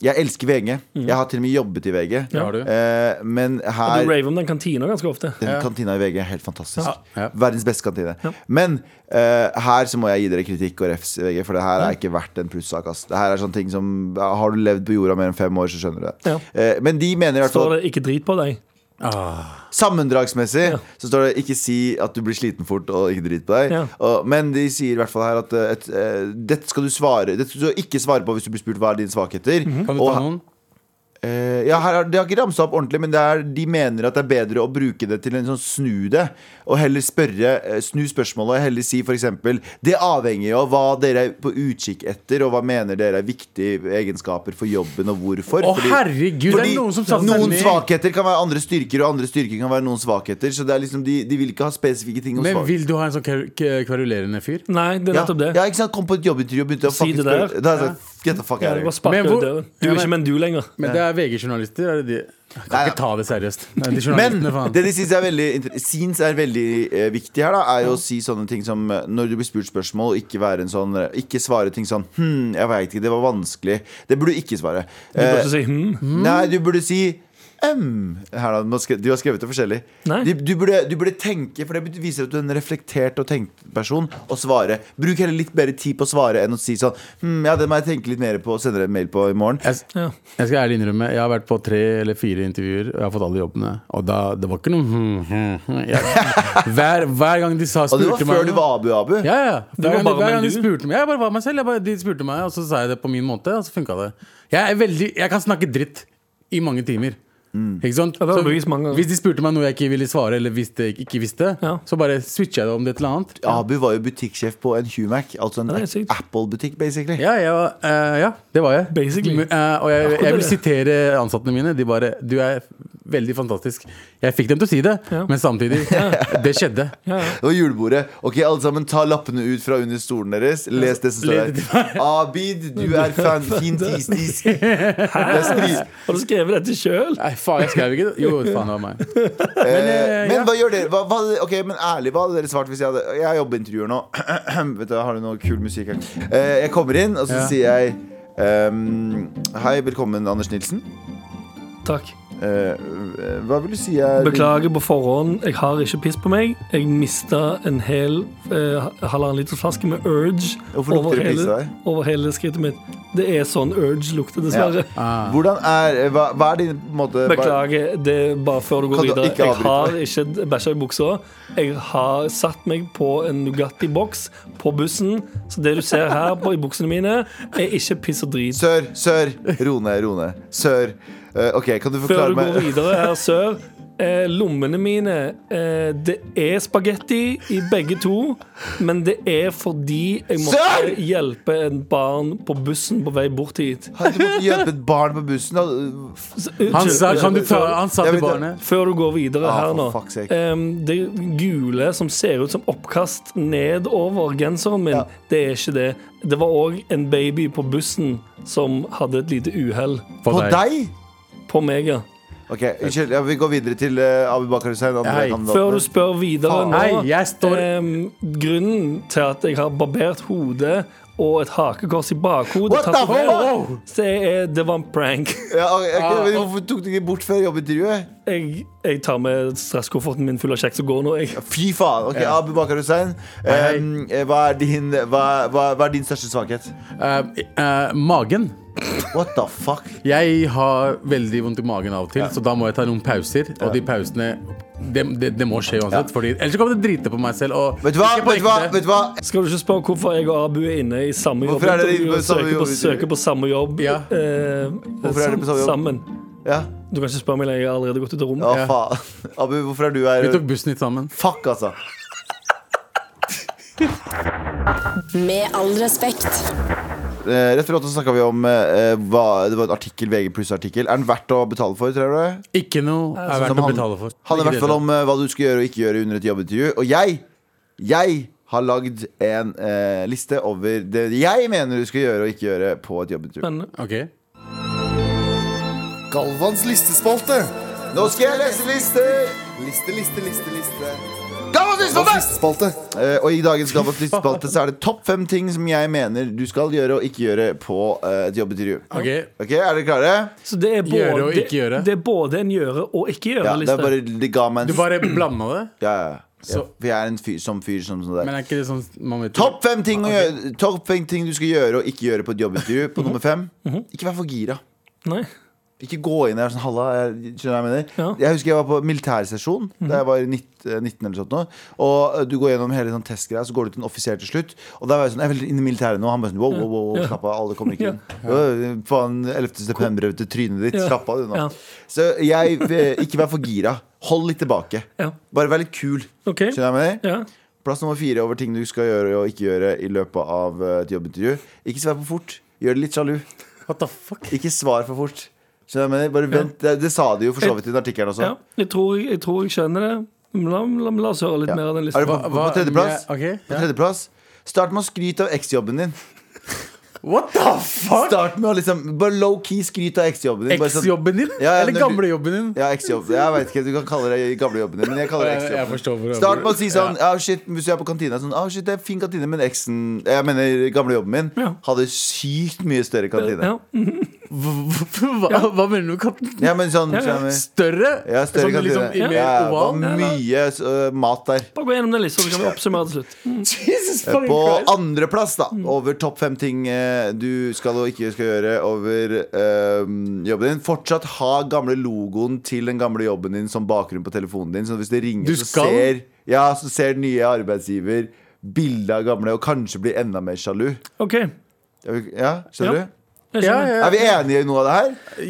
B: Jeg elsker VG. Jeg har til og med jobbet i VG.
D: Ja, har du.
B: Eh, men her
C: Mhm. Du raver om den kantina ganske ofte.
B: den kantina i VG er helt fantastisk.
D: Ja. Ja.
B: Verdens beste kantine. Men eh, her så må jeg gi dere kritikk og refs, VG, for det her er ikke verdt en plussak. ass. Det her er sånne ting som Har du levd på jorda mer enn fem år, så skjønner du det.
C: Ja.
B: Eh, men de mener i hvert fall
C: Står det 'ikke drit på deg'?
D: Ah,
B: Sammendragsmessig så står det 'ikke si at du blir sliten fort og ikke drit på deg'.
C: Ja.
B: Og, men de sier i hvert fall her at eh, et, eh, dette skal du svare Dette skal du ikke svare på hvis du blir spurt hva er dine svakheter.
C: Mhm.
D: Kan du
B: Og
D: ta
B: he-
D: noen?
B: eh, ja, her, er- de har ikke ramsa opp ordentlig, men det er, de mener at det er bedre å bruke det til en sånn snu det, og heller spørre, eh, snu spørsmålet og heller si f.eks.: Det avhenger jo av hva dere er på utkikk etter, og hva mener dere er viktige egenskaper for jobben, og hvorfor.
D: Å, herregud, det er noen som satte seg
B: noen
D: ned.
B: svakheter kan være andre styrker, og andre styrker kan være noen svakheter. Så det er liksom, de, de vil ikke ha spesifikke ting om
D: Men
B: svak-
D: vil du ha en sånn kver- k- kverulerende fyr?
C: Nei, det er
B: ja,
C: nettopp det.
B: ja, ikke sant? Kom på et jobbintervju og begynte å
C: Si
B: fucking
C: det der.
B: spørre. Da er jeg sånn, Get the fuck out
C: Ja, det var
B: of here.
C: sparket
D: Men
C: ut
D: hvor-
C: døren. Du er
D: Ja,
C: ikke
D: men-
C: men du lenger.
D: Men det er VG-journalister. er det de- Jeg
B: Nei,
D: Kan
B: ja.
D: ikke ta det seriøst. Nei, De
B: Men
D: journalistene, faen.
B: det de syns er veldig inter- Sins er veldig eh, viktig her, da, er jo å si sånne ting som eh, Når du blir spurt spørsmål, ikke være en sånn eh, Ikke svare ting sånn Hm, jeg veit ikke, det var vanskelig. Det burde du ikke svare.
C: Du
B: Eh,
C: burde si hm.
B: Nei, du burde si «em». Her da, nå skre- Du har skrevet det forskjellig.
C: Nei.
B: Du, du, burde, du burde tenke, for det viser at du er en reflektert og tenkt person, og svare. Bruk heller litt mer tid på å svare enn å si sånn hm, Ja, det må jeg tenke litt mer på og sende deg en mail på i morgen.
D: Jeg, s-
C: Ja.
D: jeg skal ærlig innrømme, jeg har vært på tre eller fire intervjuer, og jeg har fått alle jobbene. Og da, det var ikke noe hmm, hmm, hmm. jeg, hver, hver gang de sa
B: Og
D: spurte
B: det var før du var Abu-Abu.
D: Ja, ja. Hver
C: var
D: gang,
C: bare
D: hver gang
C: med du.
D: de spurte meg, jeg bare var meg selv. Jeg bare, de spurte meg, og så sa jeg det på min måte, og så funka det. Jeg, er veldig, jeg kan snakke dritt i mange timer.
B: Mm.
D: Ikke sant?
C: Ja, det har
D: Så
C: du bevist mange ganger.
D: hvis de spurte meg noe jeg ikke ville svare, eller visste, ikke visste,
C: Ja.
D: så bare switcha jeg det om det til noe annet.
B: Abu var jo butikksjef på en Humac, altså en
C: Ja, det er sykt.
B: Apple-butikk, basically.
D: Ja, jeg var, eh, ja, det var jeg.
C: Basically.
D: Men, eh, og jeg, jeg vil
C: det.
D: sitere ansatte mine. De bare Du er veldig fantastisk. Jeg fikk dem til å si det,
C: Ja.
D: men samtidig Det skjedde.
C: Ja, ja.
B: Det var julebordet. Ok, alle sammen, ta lappene ut fra under stolen deres. Les det som står der. Abid, du er fan fantastisk.
C: eh,
B: Jeg skriver-
C: Har du skrevet dette sjøl?
D: Nei, faen, jeg skrev ikke det. Jo, faen, det var meg. Men, eh,
B: Men
D: ja.
B: hva gjør dere? Hva, hva, ok, men ærlig, hva hadde dere svart hvis jeg hadde Jeg har jobbintervjuer nå. Vet du, Har du noe kul musikk her? Eh, jeg kommer inn, og så
D: Ja.
B: sier jeg ehm, Hei, velkommen, Anders Nilsen.
C: Takk.
B: Eh, hva vil du si er
C: Beklager på forhånd, jeg har ikke piss på meg. Jeg mista en hel eh, halvannen liters flaske med Urge
B: Hvorfor lukter det piss
C: hele,
B: av deg?
C: over hele skrittet mitt. Det er sånn Urge lukter, dessverre.
D: Ah.
B: Hvordan er eh, Hva, hva er din på en måte hva-
C: Beklager, det er bare før du går
B: Kan du
C: videre.
B: ikke
C: Jeg har
B: avbryte
C: ikke bæsja i buksa. Jeg har satt meg på en Nugatti-boks på bussen, så det du ser her på, i buksene mine, er ikke piss og drit.
B: Sør, sør, Rone, Rone. Sør. Eh, ok, kan du
C: Før
B: forklare
C: du går
B: meg
C: videre her sør eh, Lommene mine eh, Det er spagetti i begge to Men det er fordi Jeg måtte
B: Sør!
C: hjelpe en barn på bussen På vei bort hit
B: Har Du måtte hjelpe et barn på bussen. og-
D: Han sa, kan du ta, han sa
B: Jeg
D: til
B: vet det.
D: barnet
C: før du går videre
B: Ah,
C: her
B: for
C: nå
B: fuck's sake.
C: em, Det gule som ser ut som oppkast Nedover genseren min
B: Ja.
C: Det er ikke det Det var også en baby på bussen Som hadde et lite uheld
D: På
B: På
D: deg.
B: deg?
C: På meg ja.
B: Ok, Unnskyld, ja, vi går videre til uh, Abu Bakar Hussein. andre
D: Hei.
B: kandidaten.
C: Før du spør videre
B: Faen.
C: nå
D: Hei, jeg står
C: Ehm, grunnen til at jeg har barbert hodet og et hakekors i bakhodet
B: What the
C: tatovert,
B: fuck?
C: det, er, det var en prank.
B: Ja, ok,
C: Ah.
B: ok, men Hvorfor tok du ikke bort før jobbintervjuet?
C: Jeg, jeg tar med stresskofferten min full av kjeks og går nå. Jeg.
B: Fy faen. ok,
D: Ja.
B: Abu Bakar Hussein,
D: hei.
B: em, eh, hva, er din- hva, hva, hva er din største svakhet?
D: eh, eh, Magen.
B: What the fuck?
D: Jeg har veldig vondt i magen av og til, så da må jeg ta noen pauser. Og de pausene Det, det, det må skje uansett, Fordi ellers så kommer det drite på meg selv. Og
B: Vet du hva?
D: Ikke på
B: Vet du hva?
D: ekte.
B: Vet du hva?
C: Skal du ikke spørre hvorfor jeg og Abu er inne i samme jobb?
B: Hvorfor er dere inne på
C: og
B: samme
C: søker, på,
B: jobb?
C: søker på samme jobb
D: Ja.
C: eh,
B: Hvorfor er dere på samme jobb?
C: sammen?
B: Ja,
C: Du kan ikke spørre meg lenger, jeg har allerede gått ut av rommet.
B: ja,
D: Ja.
B: faen. Abu, hvorfor er du
D: Vi tok
B: her?
D: bussen hit sammen.
B: Fuck, altså.
A: Med all respekt.
B: Eh, rett før låta snakka vi om eh, hva, Det var en artikkel, VG pluss-artikkel. Er den verdt å betale for, tror du? Sånn
D: Ikke noe er
C: altså,
B: Som
D: verdt å
B: han-
D: betale for.
B: Han er i
D: Ikke
B: hvert fall om eh, hva du skal gjøre og ikke gjøre under et jobbintervju. Og jeg, jeg har lagd en eh, liste over det jeg mener du skal gjøre og ikke gjøre på et jobbetur.
C: Spennende.
D: Ok
F: Galvans listespalte.
B: Nå skal jeg lese lister!
F: Liste, liste, liste, liste.
B: Galvans
F: Galvans
B: listespalte!
F: listespalte.
B: Eh, og i dagens Galvans listespalte så er det topp fem ting som jeg mener du skal gjøre og ikke gjøre på eh, et jobbetur.
D: Ok.
B: Ok, er dere klare?
C: Så det er, både,
D: Gjøre og ikke gjøre.
C: det er både en gjøre og ikke
B: Ja, det
C: gjøre-liste.
B: er bare De ga meg
D: Du
B: en
D: bare blanda det?
B: Ja, ja, ja.
D: Så-
B: For jeg er en fyr som fyr som sånn
D: Men
B: der.
D: er ikke det sånn man vet
B: Topp fem ting, å gjøre, topp fem ting du skal gjøre og ikke gjøre på et jobbintervju. På nummer fem
C: Mhm.
B: Ikke vær for gira.
C: Nei.
B: Ikke gå inn der sånn halla. Jeg, skjønner hva jeg mener
C: Ja. Mhm.
B: Jeg husker jeg var på militærsesjon da jeg var 19, 19 eller sånt nå. Og eh, du går gjennom hele sånn testgreia, så går du til en offiser til slutt. Og da var jeg sånn Jeg vil inn i militæret nå. Han bare sånn wow, wow, wow,
C: Ja.
B: slapp av. Alle kommer ikke
C: Ja.
B: inn. Øh, Faen, 11. september til trynet ditt.
C: Ja.
B: Slapp av, du nå.
C: Ja.
B: Så jeg eh, Ikke vær for gira. Hold litt tilbake.
C: Ja.
B: Bare vær litt kul.
C: OK.
B: Skjønner jeg hva jeg mener?
C: Ja.
B: Plass nummer fire over ting du skal gjøre og ikke gjøre i løpet av eh, et jobbintervju. Ikke svar for fort. Gjør det litt sjalu.
D: What the fuck?
B: Ikke svar for fort. Skjønner du hva jeg mener? Bare vent. Det, det sa de jo for så vidt i den artikkelen også.
C: ja. Jeg, tror, jeg tror jeg skjønner det. Men La, la, la oss høre litt
B: Ja.
C: mer av den
B: Er du
C: listen.
B: på,
D: Hva-
B: på
D: hva-
B: tredjeplass?
D: ja, ok,
B: På
D: ja.
B: tredjeplass? Start med å skryte av eksjobben din.
D: What the fuck?
B: Start med å liksom Bare low-key skryte av eksjobben din. Bare sånn-
D: Eksjobben din?
B: Ja, ja,
D: Eller
B: når du-
D: gamlejobben din?
B: Ja, eksjobb. Jeg vet ikke, Du kan kalle det gamlejobben din, men jeg kaller det
D: Jeg- jeg forstår hvor
B: eksjobben.
D: du-
B: Start med å si sånn ja. shit, Hvis du er på kantina sånn ah, shit, det er fin kantine, men eksen Jeg mener gamlejobben min
C: Ja.
B: hadde sykt mye større kantine.
C: Ja. Mm.
B: Ja,
D: Hva, hva mener du med katten?
B: men sånn
C: Ja, ja.
B: skjønner du?
D: Større?
B: ja, større
D: Sånn
B: kantine.
D: liksom i
B: ja,
D: mer
B: ja, det var
D: oval?
B: mye øh, mat der.
C: Bare gå gjennom den lista, så kan vi oppsummere til slutt.
D: Jesus fucking
B: På
D: Christ.
B: andreplass, da, over topp fem ting eh, du skal og ikke skal gjøre over eh, jobben din. Fortsatt ha gamle logoen til den gamle jobben din som bakgrunn på telefonen din. Så hvis det ringer,
D: Du
B: så
D: skal?
B: ser, ja, så ser den nye arbeidsgiver bildet av gamle, og kanskje blir enda mer sjalu.
C: OK.
B: Er vi- Ja, skjønner
C: Ja.
B: du?
C: Jeg
D: Ja,
C: skjønner.
D: ja,
B: Er vi enige i noe av det her?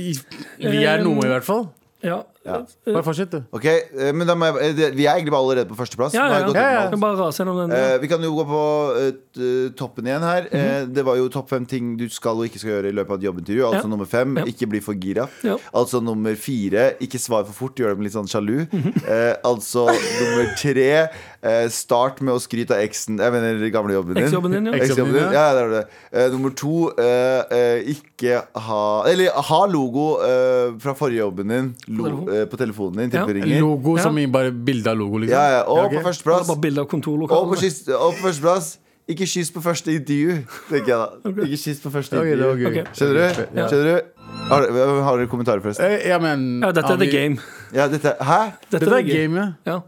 D: Vi er noe, i hvert fall.
C: Ja.
B: Ja.
D: Bare fortsett, du.
B: Ok, eh, men da må jeg, eh, det- Vi er egentlig bare allerede på førsteplass.
C: Ja,
B: Nå har
C: ja,
B: jeg gått
C: ja.
B: gjennom alt.
C: Jeg kan bare rase gjennom den.
B: Eh, vi kan jo gå på eh, t- toppen igjen her. Eh, det var jo topp fem ting du skal og ikke skal gjøre i løpet av et jobbintervju. Altså
C: Mhm. Ja.
B: nummer fem,
C: Ja.
B: ikke bli for gira.
C: Ja.
B: Altså nummer fire, ikke svar for fort, gjør dem litt sånn sjalu.
C: Mhm.
B: Eh, altså nummer tre, eh, start med å skryte av eksen Jeg mener gamle jobben din.
C: Eksjobben din, ja.
B: Eksjobben din, ja, det er det. Eh, nummer to, eh, eh, ikke ha Eller ha logo eh, fra forrige jobben din lo,
C: Telefon.
B: eh, på telefonen din.
C: Ja.
B: Til det ringer.
D: Logo
C: Ja.
D: som i bare bilde av logo, liksom.
B: Ja, ja. Og
D: ok.
B: på
C: Det er
B: førsteplass
C: Bare bilde av
B: og på,
C: kontorlokalene.
B: sist, og på førsteplass Ikke kyss på første intervju, tenker jeg da. Ikke kyss på første
D: Ok, det var
B: intervju.
D: gøy.
C: Ok.
B: Skjønner du?
C: Ja.
B: Skjønner du? Har, har dere kommentarer, forresten?
D: Eh, Ja, men
C: Ja, dette
D: har
C: er the
D: vi-
C: game.
B: Ja, dette Hæ?
C: Dette
D: Dette er game, ja.
C: Ja.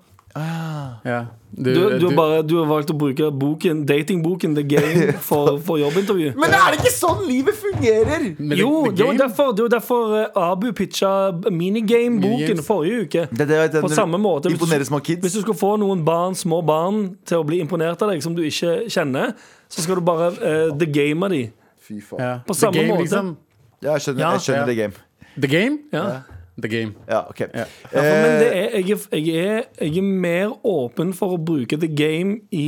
D: ja.
C: Du, du, har bare, du har valgt å bruke boken, datingboken The Game for, for jobbintervju.
B: Men er det ikke sånn livet fungerer?
D: Men
C: Jo,
D: the- the
C: det var
D: game?
C: derfor, det var derfor eh, Abu pitcha minigame-boken
D: Minigames.
C: forrige uke.
B: Det, det, det,
C: På samme måte. hvis du-
B: Imponerer små
C: Hvis
B: kids.
C: du skal få noen barn, små barn til å bli imponert av deg, som du ikke kjenner, så skal du bare eh, the game av de.
B: Fy faen.
D: Ja.
C: På
D: The
C: samme
D: game,
C: måte.
D: liksom.
B: Ja, jeg skjønner,
C: Ja.
B: jeg skjønner
D: Ja.
B: det game.
D: The game?
C: Ja.
D: The game.
B: Ja, ok
C: Ja, for, men det
B: eh,
C: er, jeg, er, jeg, er, jeg er mer åpen for å bruke the game i,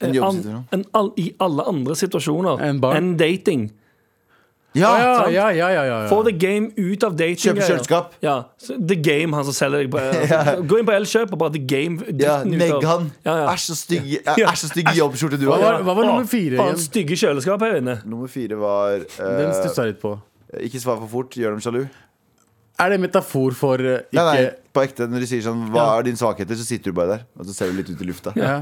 C: eh,
B: En jobbsituasjon.
C: an- en all, i alle andre situasjoner
D: Enn barn.
C: enn dating.
B: ja,
D: Ja,
C: sant.
D: ja, ja, ja, ja,
C: Få
D: ja.
C: the game ut av dating.
B: Kjøpe kjøleskap.
C: Ja, så The Game, han som selger deg på altså, Gå inn på Elkjøp og bare The Game.
B: ja,
C: dritten ut av-
B: Negg han.
C: Ja, ja.
B: Æsj, så stygg Æsj, så stygg jobbskjorte du
D: Hva
B: har.
D: var, hva var nummer fire
C: Faen,
D: igjen?
C: stygge kjøleskap her inne.
B: Nummer fire var
D: Den
B: eh,
D: stussa jeg litt på.
B: Ikke svar for fort, gjør dem sjalu.
D: Er det en metafor for eh, ikke
B: Nei, nei, på ekte, når de sier sånn Hva er din svakheter, så sitter du bare der Og så ser du litt ut i lufta
D: Ja.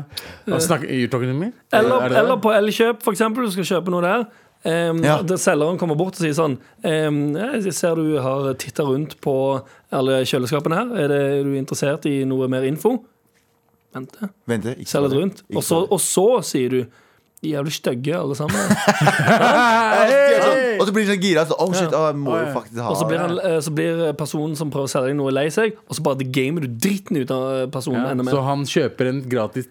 D: Hva snakker- you're talking to me?
C: Eller,
D: Er det det?
C: eller på Elkjøp, for eksempel. Du skal kjøpe noe der. Um,
B: Ja.
C: Der selgeren kommer bort og sier sånn ehm, Jeg ser du har titta rundt på alle kjøleskapene her. Er, det, er du interessert i noe mer info? Vent, det.
B: Vent det, ikke
C: Selg litt
B: bare.
C: rundt.
B: Ikke
C: Og så,
B: bare.
C: og så sier du Jævlig stygge, alle sammen.
B: Eh, de er sånn, Og så blir de sånn gira så, Oh shit, å, jeg må jo
D: Ah, Ja.
B: faktisk ha
C: Og så blir,
B: det
C: han, eh, så blir personen som prøver å selge deg noe, lei seg, og så bare det gamer du dritten ut av eh, personen
D: Ja.
C: enda
D: Så
C: mer.
D: han kjøper en gratis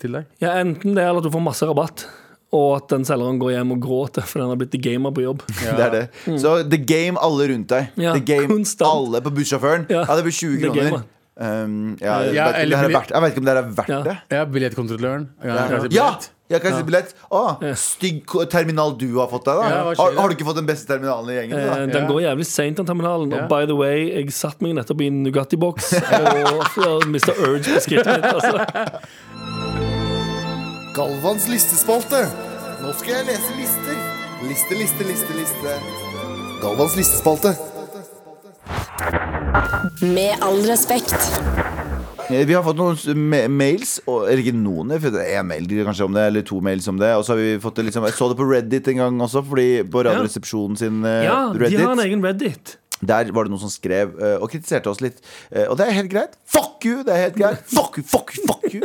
D: til deg?
C: Ja, enten det, eller at du får masse rabatt, og at den selgeren går hjem og gråter fordi han har blitt the gamer på jobb.
B: Det er det Så the game alle rundt deg
C: Mm. Ja,
B: The game
C: konstant.
B: alle på bussjåføren
C: Ja.
B: Ja, det blir 20
C: The
B: kroner
C: game,
B: um, ja, jeg,
D: Ja,
B: vet ikke om det her
D: eller-
B: er verdt, jeg vet ikke om det her er verdt
C: Ja.
B: det
D: Ja, Billettkontrolløren. Ja, kanskje
B: Ja,
D: billett.
B: jeg kan si billett Å,
C: Ja.
B: stygg ko- terminal du har fått deg da
D: Ja, hva skjer?
B: har, har du ikke fått den beste terminalen i gjengen
C: Eh,
B: da?
C: Den
D: Ja.
C: går jævlig seint, den terminalen.
D: Ja.
C: Og by the way, jeg satt meg nettopp i en Nugatti-boks og mista urge på skrittet mitt. Altså.
F: Galvans listespalte. Nå skal jeg lese lister. Liste, liste, liste, liste. Galvans listespalte.
A: Med all respekt.
B: Eh, Vi har fått noen s- ma- mails, og, eller ikke noen, jeg vet ikke, en mail kanskje om det, eller to mails om det. Og så har vi fått det liksom, Jeg så det på Reddit en gang også, fordi på Radioresepsjonen sin eh,
C: Ja, de
B: Reddit.
C: har en egen Reddit.
B: Der var det noen som skrev eh, og kritiserte oss litt. Eh, og det er helt greit. Fuck you! Det er helt greit. Fuck you, fuck you, fuck you!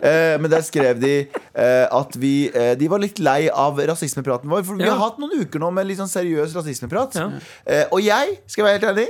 B: Eh, men der skrev de eh, at vi eh, De var litt lei av rasismepraten vår. For vi
C: Ja.
B: har hatt noen uker nå med litt sånn seriøs rasismeprat.
C: Ja.
B: Eh, og jeg skal jeg være helt enig.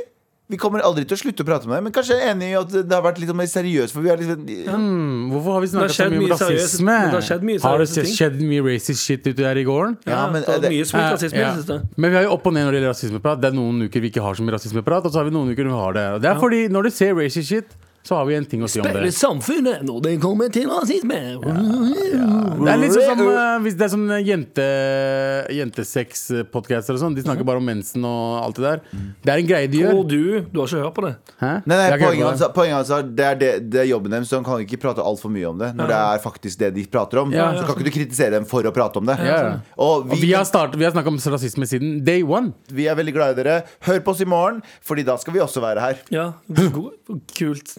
B: Vi kommer aldri til å slutte å prate med deg, men kanskje jeg er enig i at det har vært litt sånn mer seriøst. For vi er liksom
D: Mm, hvorfor har vi snakket
C: Det har
D: så
C: skjedd
D: mye om
C: mye seriøse-
D: rasisme?
C: men det har skjedd mye
D: har det
C: seriøse ting.
D: skjedd mye racist shit ute der i gården?
C: Ja,
B: men
C: det
B: er det-
C: var mye sweet
D: Eh,
C: rasisme i
D: ja.
C: det siste.
D: Men vi har jo opp og ned når det gjelder rasismeprat. Det er noen uker vi ikke har så mye rasismeprat, og så har vi noen uker vi har det. Og det er fordi når du ser racist shit, så har vi en ting å si om det.
C: Speiler samfunnet når det kommer til rasisme.
D: Det er litt sånn som, eh, hvis det er sånn eh, jente, jentesex-podcaster og sånn. De
B: Mhm.
D: snakker bare om mensen og alt det der. Det er en greie de gjør.
C: Og du, du har ikke hørt på det.
D: Hæ?
B: Nei, nei
D: Jeg har ikke hørt
B: poenget,
D: på
B: hans,
D: det.
B: poenget hans er det er det, det er jobben deres, så han kan ikke prate altfor mye om det. Når det er faktisk det de prater om.
D: Ja, ja,
B: så kan ikke du kritisere dem for å prate om det.
D: Ja, ja.
B: Og
D: Og
B: vi,
D: vi har, startet, vi har snakket om rasisme siden day one.
B: vi er veldig glad i dere. Hør på oss i morgen, Fordi da skal vi også være her.
C: Ja, god- kult.